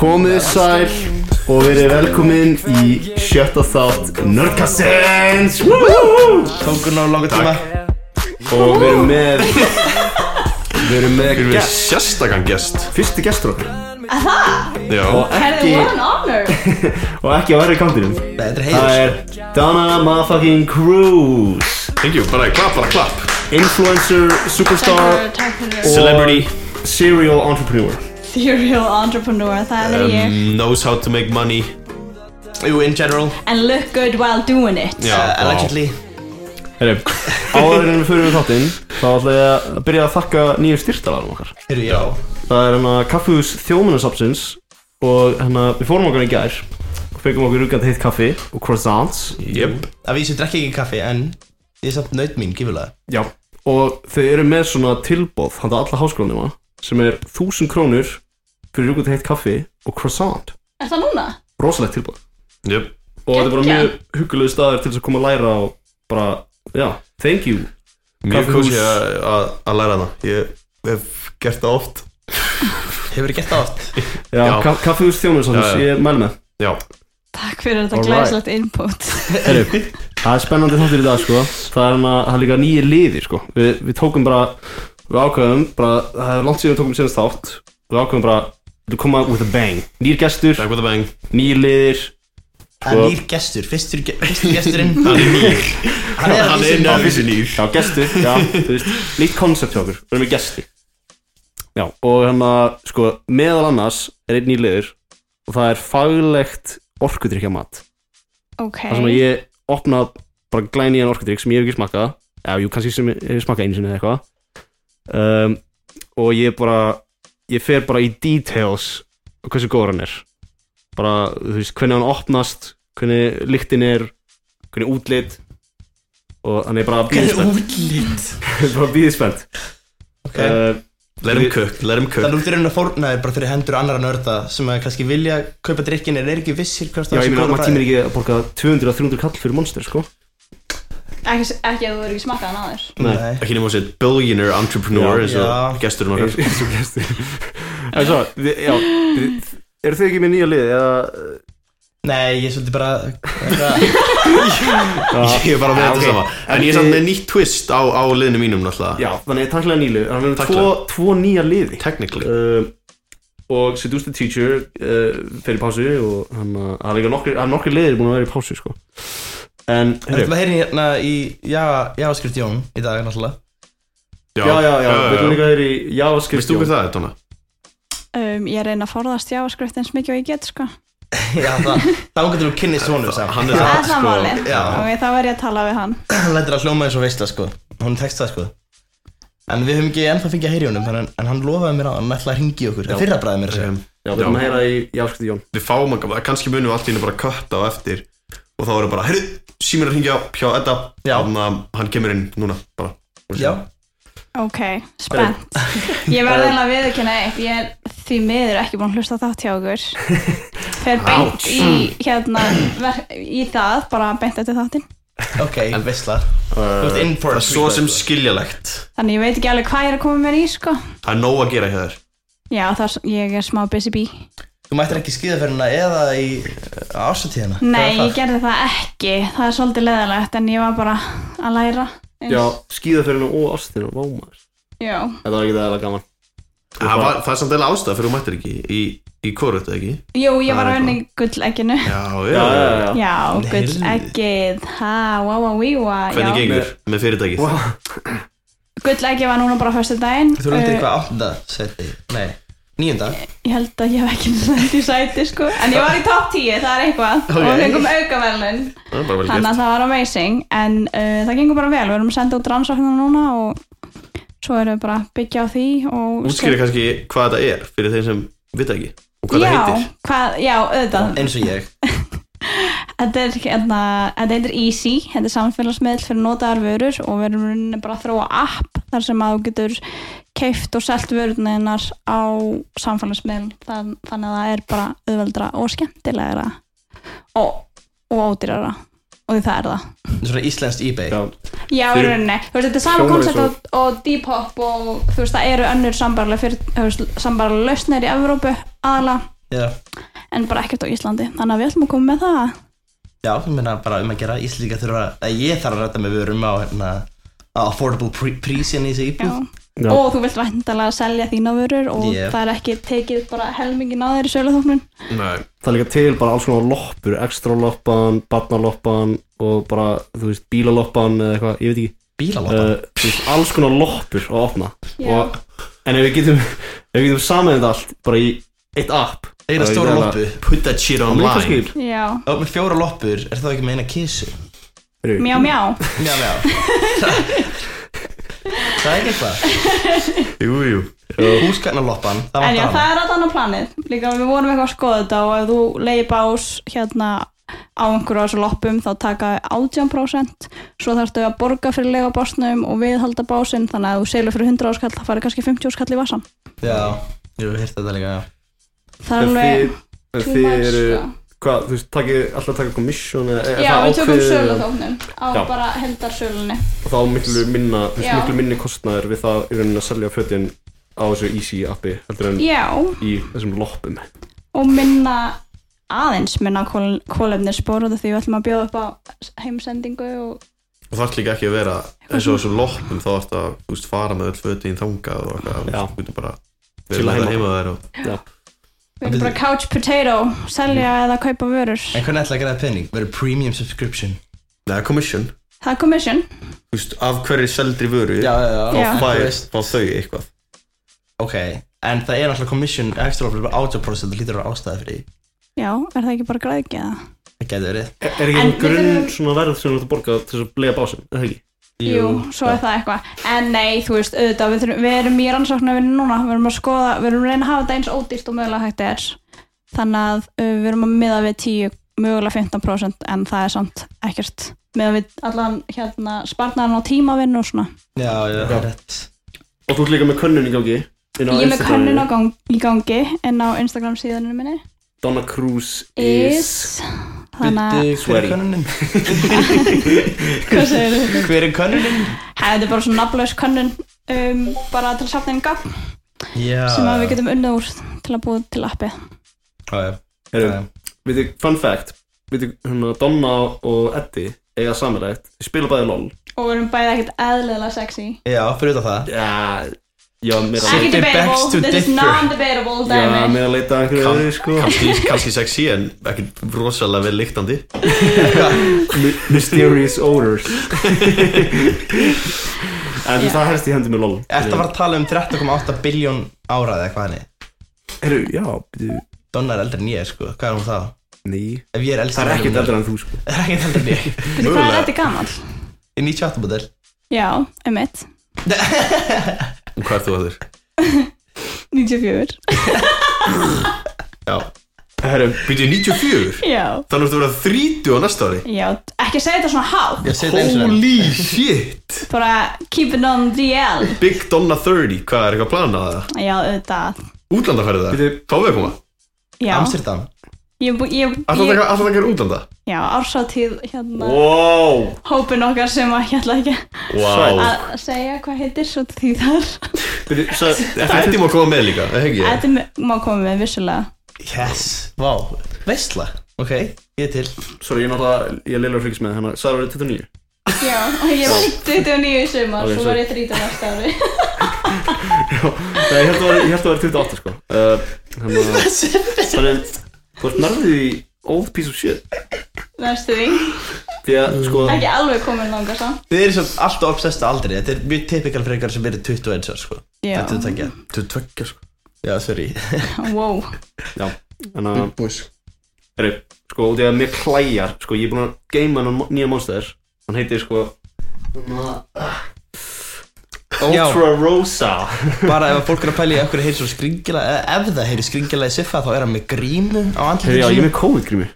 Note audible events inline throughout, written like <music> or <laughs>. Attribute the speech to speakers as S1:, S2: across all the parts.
S1: Komið sæl og verið velkomin í sjötta þátt Nörgassens Og
S2: Tókur ná langa tíma
S1: við erum með Við erum með
S3: Við erum
S1: gest,
S3: sérstakann gest
S1: fyrsti gestur okkar
S3: Já,
S1: Ekki,
S4: What an honor
S1: og ekki á verri kantinum
S2: Þetta er
S1: Það
S2: heiður
S1: er Donna motherfucking Cruz
S3: thank you, bara klapp, bara klapp
S1: Influencer, superstar
S4: Takk fyrir
S1: og
S2: Celebrity
S1: Serial entrepreneur
S4: Serial entrepreneur, það er ég
S2: um, Knows how to make money Jú, in general
S4: And look good while doing it
S3: Já,
S2: uh,
S3: vá.
S2: Allegedly
S1: Herru, áður en við fyrir við þáttinn þá ætla ég að byrja að þakka nýju styrtalarum okkar
S2: Heyrðu, já
S1: Það er hérna kaffuhús þjóminasapsins og hérna við fórum okkar í gær og fegum okkur rúkandi heitt kaffi og croissants
S3: Jep,
S2: Að vísu drekki ekki kaffi en Ég er samt naut mín, gifulega
S1: Já Og þau eru með svona tilbóð handa alla háskólanum sem er 1000 krónur fyrir rúkandi heitt kaffi og croissant
S4: Er það núna?
S1: Rosalegt tilbóð
S3: jep
S1: Og þetta er bara
S4: Geggjað.
S1: mjög hugulegu staðir til þess að koma að læra og bara, já, thank you
S3: Mjög
S1: Kaffihús.
S3: kósi að að læra það Ég hef gert það oft
S2: Hefur gett það oft
S1: Já,
S3: Já.
S1: já. kaffuhús þjóminasapsins,
S3: Já, já.
S1: ég mælu með
S3: Já,
S4: Takk fyrir þetta
S1: Alright.
S4: glæslegt input
S1: Herru, það er spennandi þáttur í dag sko Það er hana, það er líka nýjir liðir sko Við, við tókum bara, við ákveðum bara, það er langt síðan við tókum síðan þátt Við ákveðum bara, við komum að with a bang Nýr gestur,
S3: back with a bang
S1: nýjir liðir
S2: Það
S1: Sko.
S2: er nýr gestur, fyrstur, ge fyrstur gesturinn
S3: Hann er nýr
S2: Hann er
S3: <laughs>
S2: að
S3: Hann
S2: vísu
S3: er
S2: nýr
S3: nefnir nýr
S1: Já, gestur, já, þú veist, nýtt koncept hjá okkur Við erum með gesti Já, og hérna, sko, meðal annars er einn nýr liður Og það er faglegt orkudrykja mat
S4: Ok
S1: Það sem að ég opna bara glæni í en orkudrykk sem ég hef ekki smakað eða jú, kannski sem ég hef smakað einu sinni eða eitthvað um, og ég bara ég fer bara í details á hversu góður hann er bara, þú veist, hvernig hann opnast hvernig lyktin er hvernig útlit og hann er bara býðispennt
S2: útlít
S1: <laughs> bara býðispennt
S2: Ok
S1: uh,
S3: Let him cook, let him
S2: Það
S3: cook
S2: lútur einhvern að fórna þér bara fyrir hendur annara nörda sem að kannski vilja kaupa drikkin en er ekki vissir hvort
S1: já,
S2: það
S1: ég
S2: sé
S1: meina,
S2: góður
S1: maður
S2: bragð.
S1: tímir ekki að borga 200-300 kall fyrir monster, sko
S4: Ekki, ekki að þú eru ekki smakað hann aður
S1: Nei.
S2: Nei.
S3: Ekki nefnum að segja billionaire entrepreneur
S1: Já.
S3: eins og
S2: Já.
S3: gesturinn okkar
S1: eins og gestur en svo, þið, já, þið, eru þið ekki með nýja lið eða
S2: Nei, ég er svolítið bara <laughs> eitthvað-
S3: Ég er bara með
S1: Já,
S3: þetta
S1: ok.
S3: sama En ég er samt með nýtt twist á, á liðinu mínum náttúrulega
S1: Já, þannig að takklega nýlu Þannig að við erum tvo,
S3: Tæklega.
S1: tvo nýja liði
S3: Technically
S1: uh, Og Seduce the Teacher uh, fer í pásu og hann uh, það er líka nokkri, hann nokkri liðir búin að vera í pásu sko. En,
S2: Við
S1: heyrðu,
S2: ætlum að heyra hérna í Já- JavaScript Jón í dag náttúrulega <laughs>
S1: já, já, já, við erum líka þeir í
S3: Veist þú
S1: JavaScript
S3: hvað það er, Donna?
S4: um, Ég reyna að forðast JavaScript eins mikið og ég get sko
S2: Já, það, þá getur þú kynnið svonum
S3: Það-
S2: saman
S3: hann er
S4: Það er
S3: það,
S4: það
S3: sko.
S4: máli
S2: Já.
S4: Ok, þá verð ég að tala við hann
S2: Hann lætir að hljóma eins og veistla sko Hún tekst það sko En við höfum ekki ennþá fengið að heyra í honum en, en hann lofaði mér á hann ætlaði að ringi okkur Það fyrra bræði mér að segja
S3: Um,
S1: Já, við erum að heyra í JavaScript Jón
S3: við fáum að, kannski munum við allt í henni bara að kötta á eftir og þá erum bara, heyrðu, símir er að hringja á hjá Edda,
S2: Já.
S3: þannig að hann kemur inn núna bara.
S2: Já,
S4: Ok, spennt Ég verð eiginlega að viðurkenna eitt Ég er því miður ekki búin að hlusta á þátt hjá okkur Fer beint í, hérna, ver, í það Bara beint eftir þáttin
S2: ok, veistla Þú ert in for
S3: Uh, Það
S2: a
S3: er svo
S2: treat,
S3: sem
S2: sko.
S3: skiljalegt
S4: Þannig ég veit ekki alveg hvað ég er að koma mér í sko
S3: það er nóg að gera hjá þér
S4: Já, þar, ég er smá busy bee
S2: Þú mættir ekki skýðaferðina eða í uh, ásatíðina
S4: Nei, ég gerði það ekki Það er svolítið leðalegt en ég var bara að læra eins.
S1: Já, skíðaferðinu og ástina, vámaður
S4: Já,
S1: Þetta var ekki það eða gaman
S3: það, var, það er samt eða ástæða fyrir þú mættir ekki í, í kóru, þetta ekki?
S4: Jú, ég
S3: Það
S4: var
S3: er
S4: að vinna í gullegginu
S3: Já,
S1: Já, já, já, já.
S4: Já,
S2: Nei.
S4: gulleggið Ha, wow, wow, wow
S3: Hvernig gengur með fyrirtækið?
S1: Wow.
S4: Gulleggið var núna bara fyrstu daginn Eh,
S2: Þú lendir eitthvað áttunda seti Nei, níunda
S4: Ég held að ég hef ekki <laughs> nætt í sæti sko En ég var í top 10, það er eitthvað
S3: Ok.
S4: Og fengum aukaverlun
S3: Það er bara vel
S4: Þannig
S3: gert
S4: að það var amazing En uh, það gengur bara vel, við erum að senda út rannsóknum núna Og svo erum við bara að byggja á því og
S3: Útskýra kannski hvað þetta er fyrir þeir sem vita ekki og hvað
S4: já,
S3: það heitir
S4: Hvað, já, auðvitað
S2: Eins og ég
S4: Þetta er, hérna, þetta heitir Easy, þetta er samfélagsmiðl fyrir notaðar vörur og við erum í rauninni bara að þróa app þar sem að þú getur keift og selt vörunniðnar á samfélagsmiðl Þann, þannig að það er bara auðveldra og skemmtilegra og, og ódýrara og því það er það
S2: Svona íslenskt ebay
S1: Já,
S4: Já, í
S1: Fyrir-
S4: rauninni, þú veist, þetta er sama
S1: Hljómar eins
S4: koncept og, og Depop og þú veist, það eru önnur sambarlega fyrir, sambarlega lausnir í Evrópu aðala,
S2: Já,
S4: en bara ekkert á Íslandi þannig að við ætlum að koma með það
S2: já ég meina bara um að gera Íslendinga þurfa að ég þarf að ræta með vörum á hérna á affordable pre- price inn í þessi
S4: Já.
S2: íbúð
S1: já,
S4: og þú vilt væntanlega selja þína vörur og
S2: Yeah.
S4: það er ekki tekið bara helmingin á þeirri söluþóknun
S3: Nei,
S1: það er líka til bara alls konar loppur Ekstra loppan, barnaloppan og bara, þú veist, bílaloppan eða eitthvað, ég veit ekki
S2: Bílaloppa
S1: uh, þú veist, Alls konar loppur að opna
S4: Já.
S1: og, En ef við getum, ef við getum saman þetta allt bara í eitt app
S2: Eina
S1: þá er
S2: stóra
S1: ég
S2: loppu
S3: uh, put that shit
S1: Það er líka
S3: online
S1: skil
S4: Já,
S2: Og með fjóra loppur er það ekki með eina kissu
S1: Heyrðu,
S4: mjá mjá
S2: Já,
S4: <laughs>
S2: já Það er ekki eitthvað
S3: Jú, jú
S2: Húskarnaloppan, það
S4: En já,
S2: vantar
S4: það
S2: hana
S4: er alltaf annar planið Líka við vorum eitthvað að skoða þetta og ef þú leiði bás hérna á einhverju á þessu loppum þá taka þau 18% svo þarftu að borga fyrir lega básnum og viðhalda básinn þannig að ef þú selur fyrir 100 áskall þá farið kannski 50 áskall í vassan
S2: Já, ég hef hýrt þetta líka, já
S4: Það er
S1: En
S4: alveg
S1: þið- en
S4: too
S1: þið
S4: much,
S1: eru,
S4: sko.
S1: hvað, þú veist, takið, alltaf taka komissjón
S4: Já, við tökum söluþóknum á
S1: Já.
S4: bara heldarsölunni
S1: þá miklu minna þú veist,
S4: Já.
S1: miklu minni kostnæður við það í rauninni að selja fötin á þessu easy appi heldur en
S4: Já,
S1: í þessum loppum
S4: og minna aðeins minna kólefnir spóruðu því við ætlum að bjóða upp á heimsendingu og
S3: Og það er líka ekki að vera eins og þessum loppum þá ertu að þú veist, fara með öll fötin þangað og eitthvað þú
S1: Já.
S3: veist, þú getur bara
S1: Chilla
S3: verið
S1: heima.
S3: með það heima þær og
S1: Já.
S4: við erum bara couch potato selja eða kaupa vörur
S2: En hvernig ætla að gera það pening? Verður premium subscription
S3: Nei, commission
S4: Það er commission
S3: Þú veist, af hverju seldri vöru
S2: já,
S4: Já.
S3: fær-
S2: Þú veist,
S3: fá þau eitthvað
S2: Ok, en það er náttúrulega commission Ekstra ofrið bara 80% Það lítur að vera ástæði fyrir því.
S4: Já, er það ekki bara græðgeða?
S2: Það getur verið
S1: er, er ekki
S4: En
S1: en,
S4: við
S1: grunn
S4: þurfum-
S1: svona verð sem þú ert að borga til þess að blega básum eða ekki
S4: Jú, svo er það eitthvað. En nei, þú veist, auðvitað, við, þurfum, við erum í rannsóknarvinni núna, við erum að skoða, við erum að reyna að hafa þetta eins ódýrt og mögulega hægt er. Þannig að uh, við erum að miða við 10, mögulega 15% en það er samt ekkert. Miða við allan hérna sparnaðan á tímavinnu og svona.
S2: Já, já,
S1: Já.
S2: rétt
S1: og þú ert líka með könnun í gangi inn á
S4: Ég er með
S1: Instagraminu.
S4: könnun á gang, í gangi en á Instagram síðaninu minni.
S1: Donna Cruz is,
S4: Is. Þannig að,
S2: Bittu, hver er
S1: Sweaty.
S2: könnunin?
S1: <laughs>
S4: hvað segir þú?
S2: Hver er könnunin?
S4: Þetta er bara svona nafnlaus könnun um, bara til að safna inn gafn.
S2: Já
S4: sem að við getum unnið úr til að búið til appið
S2: Já, já,
S1: Heru,
S2: já, já.
S1: veitir, fun fact veitir, hérna, Donna og Eddie eiga samilegt, þið spila bæði LOL
S4: og við erum bæði ekkert eðlilega sexy
S2: Já, fyrir utan það
S1: já, já, mér að
S2: Shit.
S4: ekki
S2: Something
S4: debatable,
S2: begs to
S4: this is
S2: differ.
S4: non-debatable
S1: já,
S4: dæmi
S1: mér að leita að einhverju
S3: Kann-
S1: öðru, sko
S3: kannski, kannski sexy en ekki rosalega vel lyktandi
S1: <laughs> My- Mysterious odors En
S4: Já.
S1: yeah. það helst í hendi með LOL
S2: Þetta var að tala um 13,8 biljón ára eða hvað hann er
S1: Heru, já, byrju,
S2: Donna er eldri en ég, sko Hvað er hún þá?
S1: nei
S2: Ef ég er eldri
S1: Það er ekkert
S2: eldri
S1: eldra en þú sko
S2: Það er ekkert eldri en ég
S1: <laughs>
S4: Veitu, hvað er
S3: Mögulega.
S4: þetta gammal?
S2: Ég er 98 model
S4: já, um mitt,
S3: um hvað ert þú að þurr
S4: 94
S3: já
S1: Heru,
S3: byrjuð 94
S4: <laughs> já,
S3: þannig ertu að vera 30 á næsta ári
S4: já, ekki segja þetta svona hátt
S2: Ég seti eins
S1: hérna.
S2: og
S3: holy shit
S4: bara keep it on DL
S3: big donna 30 hvað er eitthvað að plana það
S4: já, auðvitað
S3: útlandaferði það
S1: Bíddu.
S3: þá við að koma
S4: já,
S2: Amsterdam
S4: ég, bú- ég,
S3: alltaf
S4: ég,
S3: taka alltaf taka er útlanda
S4: já, ársatíð hérna,
S2: Oh.
S1: wow
S4: hópin okkar sem að hérna ekki
S2: Oh.
S3: wow
S4: að segja hvað heitir svo því þar
S1: Byrju, eh, svo,
S3: þetta má koma með líka það hegi ég
S4: þetta er- má koma með vissulega
S2: Yes Vá Veistla Ok, ég er til
S1: Sorry, ég náttúrulega, ég er leila að fylgjast með hérna Sara verið 29
S4: Já, og ég var 29 í sumar,
S1: Ok,
S4: svo
S1: sorry.
S4: var ég 30 næsta ári.
S2: <laughs>
S1: Nei, ég held að vera- ég held að vera 28 sko uh, hérna, Þannig, þú ert nærðið í old piece of shit
S4: Næstu því.
S1: Því að sko
S4: Ekki alveg komin langar samt.
S2: Þið eru samt alltaf obsessed aldrei Þetta er mjög typikal fyrir ykkur sem eru 21 ár, sko
S4: Já,
S2: Þetta er takja
S3: þú tveggja sko
S2: Já, sorry
S4: wow.
S1: Já, þannig að Heru, hérna, sko, út í að mér klæjar sko, ég er búinn að geima hann nýja monster hann heitir sko Ultra Rosa
S2: Bara ef að fólk er að pæla í okkur heyri svona skringila eða Ef það heyri skringila í siffa þá er hann með grímu á
S1: Heru,
S2: andlutinu
S1: já, ég er með COVID-grími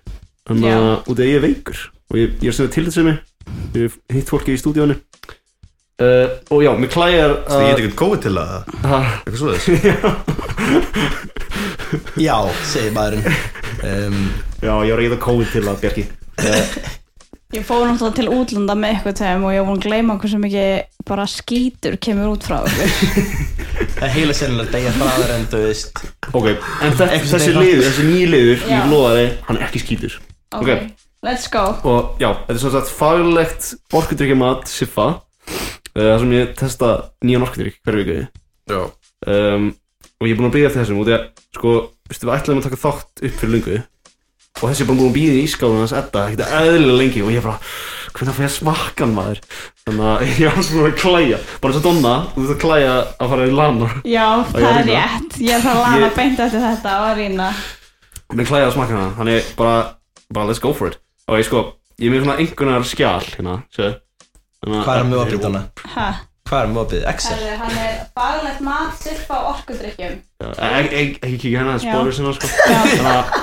S1: þannig að út í að ég er veikur og ég, ég er sem til þessum ég hef hitt fólki í stúdíónu uh, og já, mér klæjar
S3: Þú
S1: að-
S3: getur eitthvað COVID til að
S1: Ha, <laughs>
S3: eitthvað svoleiðis
S2: Já, segir maðurinn um,
S1: já, ég var að reyða COVID til að Bjarki uh,
S4: Ég fór náttúrulega til útlanda með eitthvað tegum og ég var að gleyma hversu mikið bara skítur kemur út frá okkur.
S2: Það er heila sennilega að deyja fræður en þú veist
S1: Ok, en þe
S2: Einhvers
S1: þessi
S2: veginn.
S1: liður, þessi nýju liður,
S4: Já.
S1: ég lofaði, hann er ekki skýtur
S4: <laughs> Ok, let's go.
S1: og já, þetta er svona sagt faglegt orkudrykkjamat Siffa uh, þar sem ég testa nýjan orkudrykk hverju viku
S3: Já,
S1: um, og ég er búin að bíða eftir þessum út í að sko, veistu, við ætlaðum að taka þátt upp fyrir lungu og þessi er bara búin að bíða í skáðun hans edda, ekkert eðlilega lengi og ég er bara, hvernig fæ ég að smakka hann maður þannig að <laughs> ég var svona að klæja bara svo donna, þú veist að klæja að fara í lana
S4: Já, það
S1: ég
S4: er
S1: að rýna?
S4: rétt. Ég er það að laga
S1: Ég-
S4: beint eftir þetta og að rýna.
S1: Mér klæði að smakka hana, þannig bara, bara let's go for it Og ég sko, ég er með svona einhvernar skjál hérna, séu
S2: Hvað er með opið þarna?
S4: Hæ?
S2: Hvað er með opið? Excel?
S4: Herri, hann er faglegt mat, sirpa og orkudrykkjum.
S1: Ekki ek, ek, kíkja hérna,
S4: Já.
S1: spóður sinna
S4: <laughs>
S1: sko Þannig að,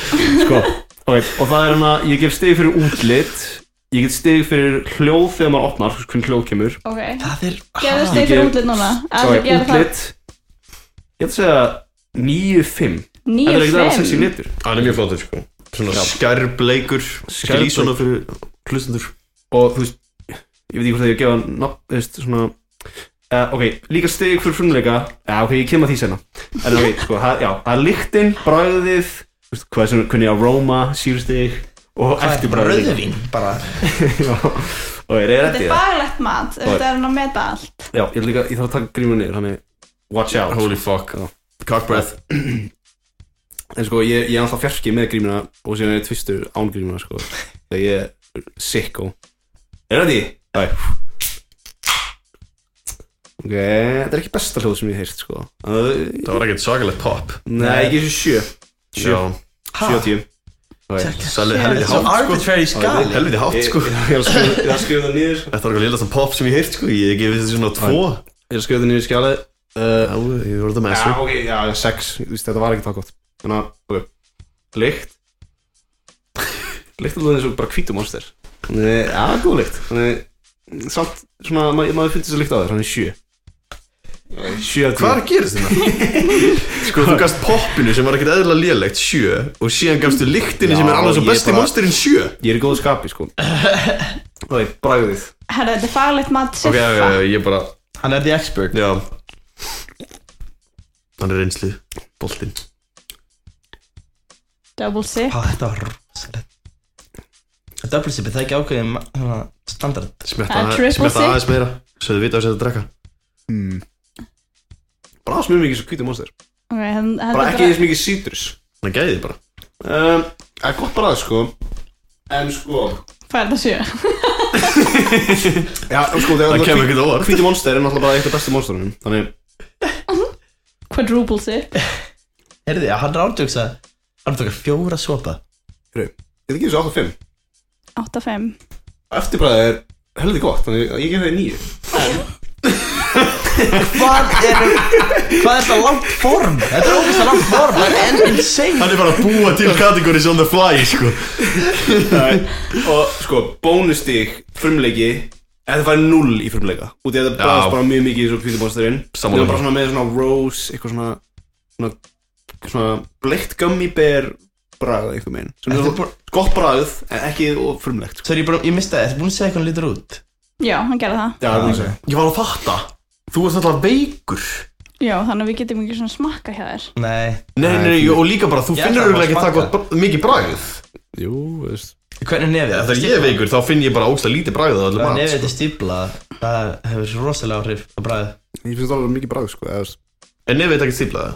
S1: <laughs> sko, ok Og það er hérna, ég gef stig fyrir útlit Ég get stig fyrir hljóð þegar maður opnar, þú veist hvernig hljóð kemur
S4: Ok.
S2: Það er
S4: Gerðu
S2: Ha?
S1: Ég
S4: steg fyrir
S1: gef-
S4: útlit núna.
S1: Svo
S4: Ætlarðu að
S1: er
S4: gera það?
S1: útlit Ég ætla að segja 9-5 Þetta er ekki það að
S4: Níu,
S1: sexy
S4: fimm.
S1: litur
S3: hann er mjög flottur sko Svona skærbleikur Skærbleikur
S1: Skærbleikur.
S3: Lýs svona fyrir hlustendur
S1: og þú veist ég veit ekki hvort að ég gefa hann nafn þú veist svona uh, ok líka stig fyrir frumleika já ok ég kem að því senna en ok sko það, já það er lyktin bragðið þú veist hvað sem kunni aroma sírstig og
S2: Hvað er bara
S1: eftirbragðið
S2: rauðvin? Bara
S1: já og ég er
S4: Þetta
S1: rétt í
S4: er
S1: það
S4: faglegt mat. Þetta er hann að meta allt.
S1: já ég, er líka, ég þarf að taka grímur niður þannig watch out
S3: Holy fuck
S1: Já.
S3: Cock breath
S1: en sko ég, ég er alltaf fjarki með grímuna og síðan er ég tvistur án grímuna sko þegar ég er sick og er þetta í? Æ ok, þetta er ekki besta hljóð sem ég heirt sko Uh,
S3: Það var ekkert svakalegt pop
S1: nei, ekki þessu sjö Sjö.
S3: Já,
S1: sjö og tíu Ok.
S3: sælið
S2: Þetta
S3: helviti
S2: er svo
S3: hátt sko
S2: arbitrary skali
S3: Helviti hátt
S1: Ég
S3: sko
S1: ég er að skrifa ég er að skrifa það niður sko.
S3: Þetta var eitthvað liðast pop sem ég heirt sko Ég gefið þessu svona tvo
S1: ég er að skrifa það niður í skjalið
S3: Já, ég voru það með
S1: já,
S3: þessu
S1: ok, já, já, sex Þú veist, þetta var ekki það gott þannig að, ok lykt <laughs> lykt alveg eins og bara hvítu monster þannig, já, góð lykt þannig, samt, svona, ma maður finnst þessu lykt á þér þannig sjö sjö af tíu
S3: Hvað er að gerast <laughs> þetta? sko, þú gafst poppinu sem var ekkert eðla lélegt sjö og síðan gafstu lyktinni sem er
S1: Já,
S3: alveg svo
S1: ég
S3: besti
S1: bara-
S3: monsterinn sjö
S1: ég er í góðu skapi, sko ok, bragðið
S4: Herra, þetta er faglegt mat,
S3: Ok, já, já,
S4: sirpa.
S3: já, ég bara,
S2: Hann er the expert
S3: já Hann er reynslið, boltinn
S4: Double sip.
S2: Hvað þetta var rosalegt Double sip, er það er ekki ákveðið ma- svona standard
S3: Smetta
S4: Það er
S3: aðe-
S4: triple
S3: smetta
S4: sip.
S3: aðeins meira Svo þau vita að þetta drekka
S1: bara aðeins mjög mikið svo hvítu monster
S4: Ok, hann- þetta er
S1: bara ekki eins mikið sítrus
S3: Þannig gæði þið bara
S1: um, það er gott bragð, sko en, sko
S4: Hvað er þetta sjö? <laughs>
S1: já, sko,
S3: Það kemur ekkert á óvart.
S1: hvítu monster er náttúrulega bara eitt af bestu monsterunum þannig,
S4: Quadruple sip.
S2: Herði, hann er ándjóksa Hann tók að fjóra sopa
S1: hérru, ég er ekki þessu 8-5
S4: 8-5.
S1: Eftirbræðið er heldur gott, þannig að ég gef það nýju
S2: Hvað er Hvað er þetta langt form? Þetta er ógæsta langt form Það er enn insane
S3: Hann er bara að búa <laughs> til kategóri on the fly, sko
S1: Og sko, bónustík, frumleiki Ef það færi 0 í frumleika Út í að það
S3: Já.
S1: bæðast bara mjög mikið í svo kvítumónsturinn Það
S3: Sammála.
S1: er bara svona með svona rose, eitthvað svona Svona, svona bleikt gummiber bragð eitthvað meginn Sem er
S2: Þetta er
S1: svona gott bragð, en ekki of frumlegt sko.
S2: Svo er ég bara, ég mistaði, þetta er búin að segja hvernig lítur út
S4: Já, hann gerði það.
S1: Já, það er það
S3: Ég var að fatta Þú ert alltaf veikur
S4: Já, þannig að við getum ekki svona smakka hjá þér.
S2: Nei
S3: Nei, nei, nei, og líka bara, þú
S2: Ég
S3: finnur
S2: ætla
S3: auðvitað
S2: bara
S3: ekki
S2: að
S3: það
S2: smakka.
S3: gott mikið bragð
S1: Jú, veist
S2: Hvernig nefið?
S3: Ef það er ég veikur, þá finn ég bara ógsta lítið bragð á öllu
S2: Ef
S3: mat
S2: nefið
S3: sko.
S2: þetta er stíplað Það hefur svo rosalega áhrif á bræðið
S1: Ég finnst alveg mikið bragð, sko eða,
S3: En nefið þetta ekki stífla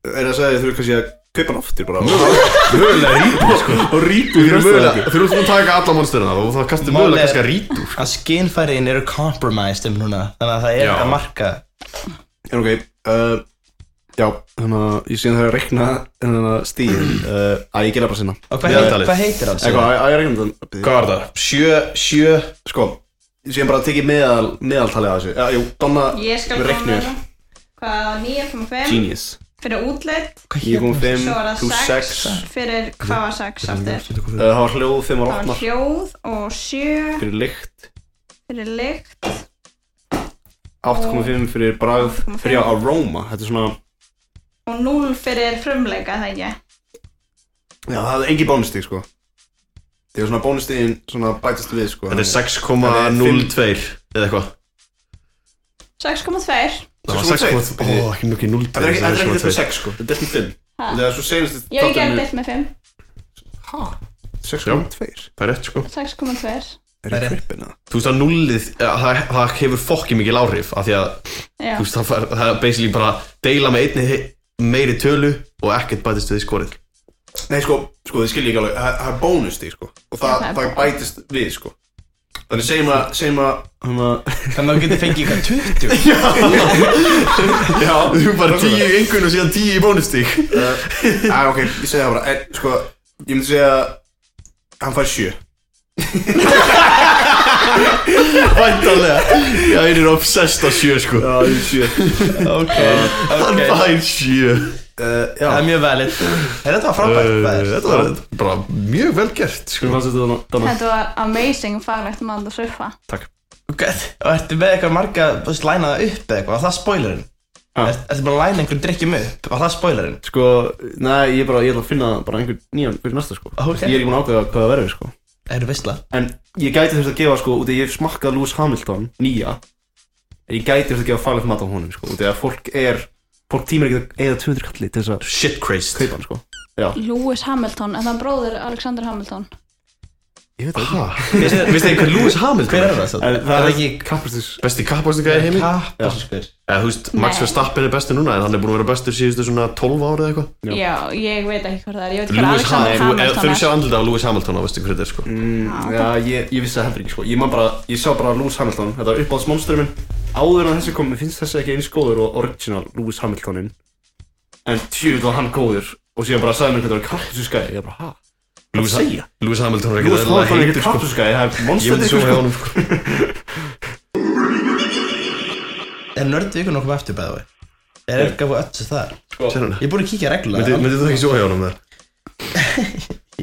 S1: Er það að segja þurfa kannski að kaupa hann aftur bara
S3: það Mögulega rítur, sko
S1: <laughs> Og rítu
S3: Þú
S1: í
S3: eru
S1: röstaðingu
S3: mögulega, þú eru svona að taka alla monsterina og það kastir
S2: Málið
S3: mögulega
S2: er-
S3: kannski að rítur
S2: að skinnfæriðin eru compromised um núna þannig að það er
S3: Já.
S2: að marka
S1: En ok, uh, já, þannig að ég sé að það er að rekna þannig að stíðin uh, að ég gera bara sinna
S2: og hvað,
S3: Já,
S2: heit,
S3: talið.
S2: hvað heitir hann?
S1: Eitthvað, að að ég rekna þannig
S3: Hvað var það? Sjö, sjö
S1: Sko, ég sé bara að tekið meðal, meðaltalið að þessu Já, jú, Donna
S4: Ég skal
S1: með
S4: koma með
S1: reknir
S4: það. Hvað, 9,5
S1: Genius
S4: fyrir útleitt,
S2: hvað heitir hann?
S1: 9.5
S4: svo var
S1: plus
S4: það
S1: 6
S4: 6 fyrir hvað var 6 aftur?
S1: Uh, Það var hljóð, 5 var
S4: Það var
S1: opnar
S4: hljóð og 7
S1: Fyrir lykt
S4: fyrir lykt.
S1: 8.5 fyrir bragð
S4: 8,5.
S1: Fyrir aroma, þetta er svona
S4: og 0 fyrir frumleika það ekki
S1: Já, það er engi bónustík, sko
S5: Þegar svona bónustíðin svona bætist við sko
S3: Þetta er
S5: þannig.
S3: 6,02 eða eitthvað
S4: 6,2
S3: Það var
S5: 6,2.
S3: 6,2
S1: Ó, ekki mikið 0
S5: Þetta er ekki- þetta er ekki delt
S3: Þetta er
S5: með 6 sko, þetta er delt með 5
S4: Ha.
S5: Þegar svo senast
S4: Ég hef ekki deilt með 5
S5: 6,2
S3: Það er rétt sko
S4: 6,2
S5: Er
S2: Það er
S5: það
S2: rétt.
S5: krippin eða?
S3: Þú veist að nullið, eh, það, það hefur fokki mikil áhrif af því að
S4: Já,
S3: þú veist það, fær, það er basically bara að deila með einni hi- meiri tölu og ekkert bætist við í skorið
S5: Nei sko, sko þið skilja ekki alveg, það það er bónustíð sko Og það,
S4: Já, það er
S5: það bætist við sko Þannig segjum að, segjum að, um að
S2: Þannig að þú getur fengið eitthvað 20
S5: <laughs> Já,
S3: Þú er bara 10 í engun og síðan 10 í bónustík <laughs>
S5: Æ, Eh, ah, ok, ég segja það bara, en sko, ég myndi segja að Hann fær 7
S3: Væntanlega Já, ég er obsessed á 7 sko
S5: Já, ég
S3: <laughs>
S5: 7
S2: Ok,
S3: Hann
S2: ok
S3: fær 7
S5: Já,
S2: Það er mjög valid Er þetta var frábært maður?
S3: Uh, Eh, Þetta var bara mjög vel gert sko
S1: Hvernig fannst þetta þannig? Dana?
S4: þetta var amazing faglegt mann að surfa
S2: Ok, og ertu með eitthvað marga þú veist, læna það upp eða eitthvað, var það spoilerinn?
S1: Já.
S2: Er, ertu bara að læna einhvern drikkjum upp, var það spoilerinn?
S1: Sko, nei, ég bara, ég ætla að finna bara einhvern nýjan fyrir næsta sko
S2: Ok.
S1: Ég er ekki búin að ákveða hvað það verður sko
S2: Það eru veistla
S1: En ég gæti þurft að gefa sko, út af ég hef smakkað Lewis Hamilton, nýja En ég gæti þurft að gefa farlegt mat á honum sko Út af að fólk er, fólk tímar ekki að eða 200 kalli til þess að
S3: Shit crazed
S1: kaupa hann sko
S4: Lewis Hamilton, en það er bróðir Alexander Hamilton
S1: Ég veit það
S3: Veistu veistu þið hver <laughs> Lewis Hamilton
S2: Hver er það svo?
S1: En
S2: Er það ekki
S1: kappastis
S3: Besti kappastingar í heimi
S2: kappaskur?
S3: Eða þú veist, Max
S4: Nei.
S3: Verstappen er besti núna en hann er búin að vera bestur síðustu svona 12 ára eða eitthvað
S1: Já.
S4: Já, ég veit ekki hvað það er, ég veit ekki hvað
S3: Lewis
S4: Alexander
S3: Hamilton Ef
S4: Hamilton
S3: þú
S4: er
S3: sjá andlita á Lewis Hamilton þá veistu hver þetta er sko
S1: mm, Já, ég, ég vissi það heldur ekki sko Ég, man bara, ég sá bara Lewis Hamilton, þetta var uppáðs monsturum minn Áður en þessi kom, mér finnst þessi ekki eins góður og original Lewis Hamiltonin En tjúið var hann góður Og síðan bara sagði mér hvernig það var kappastisgæði Ég bara, ha? Hvað
S3: Lewis,
S1: það segja?
S3: Lewis Hamilton er
S1: Lewis
S3: ekkert eðlilega
S1: Hamilton er
S3: heitur
S1: ekkert
S3: sko
S1: kappastisgæði, það er
S3: Ég myndi
S1: monster
S3: sjóna hjá
S1: sko
S3: honum sko
S2: Er nörd vikur nokkuð eftir bæði vei? Er eitthvað að ötsu þar?
S3: Sér hann
S2: Ég er búinn að kíkja reglulega
S3: Myndi þú ekki sjóna hjá honum það?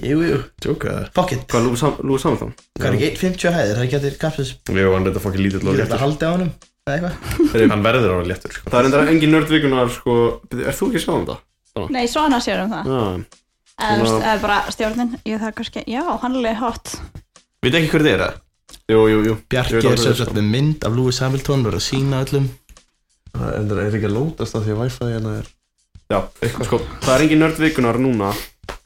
S2: Jú, jú
S3: Tjóka það
S2: Fuck it
S1: Hvað, Lewis Ham- Lewis Hamilton?
S2: Hvað er ekki 1.50 hæðir? Það getur kappaskus
S3: Við varum þetta fokkið lítill og
S2: Getur þetta
S3: léttur
S2: haldið á honum? Eða eitthvað?
S3: Hann verður að vera léttur sko
S1: Það er endara engin nördvikunar sko Bíddu, Er þú ekki að sjá um það?
S4: Nei, svona sér um það
S1: Já,
S2: Mm.
S4: Eða þú
S1: Svona-
S4: veist, eða bara stjórnin, ég það kannski Já, hann er alveg hot
S3: Veit ekki hver þetta er það?
S1: jú, jú, jú Ég
S2: Bjarki
S1: veit
S2: er
S1: aldrei
S2: sem
S1: sko.
S2: sagt með mynd af Lewis Hamilton verður að sína öllum
S3: En það er ekki að lótast að því að Wi-Fi hérna er
S1: Já, sko, það er engin nördvikunar núna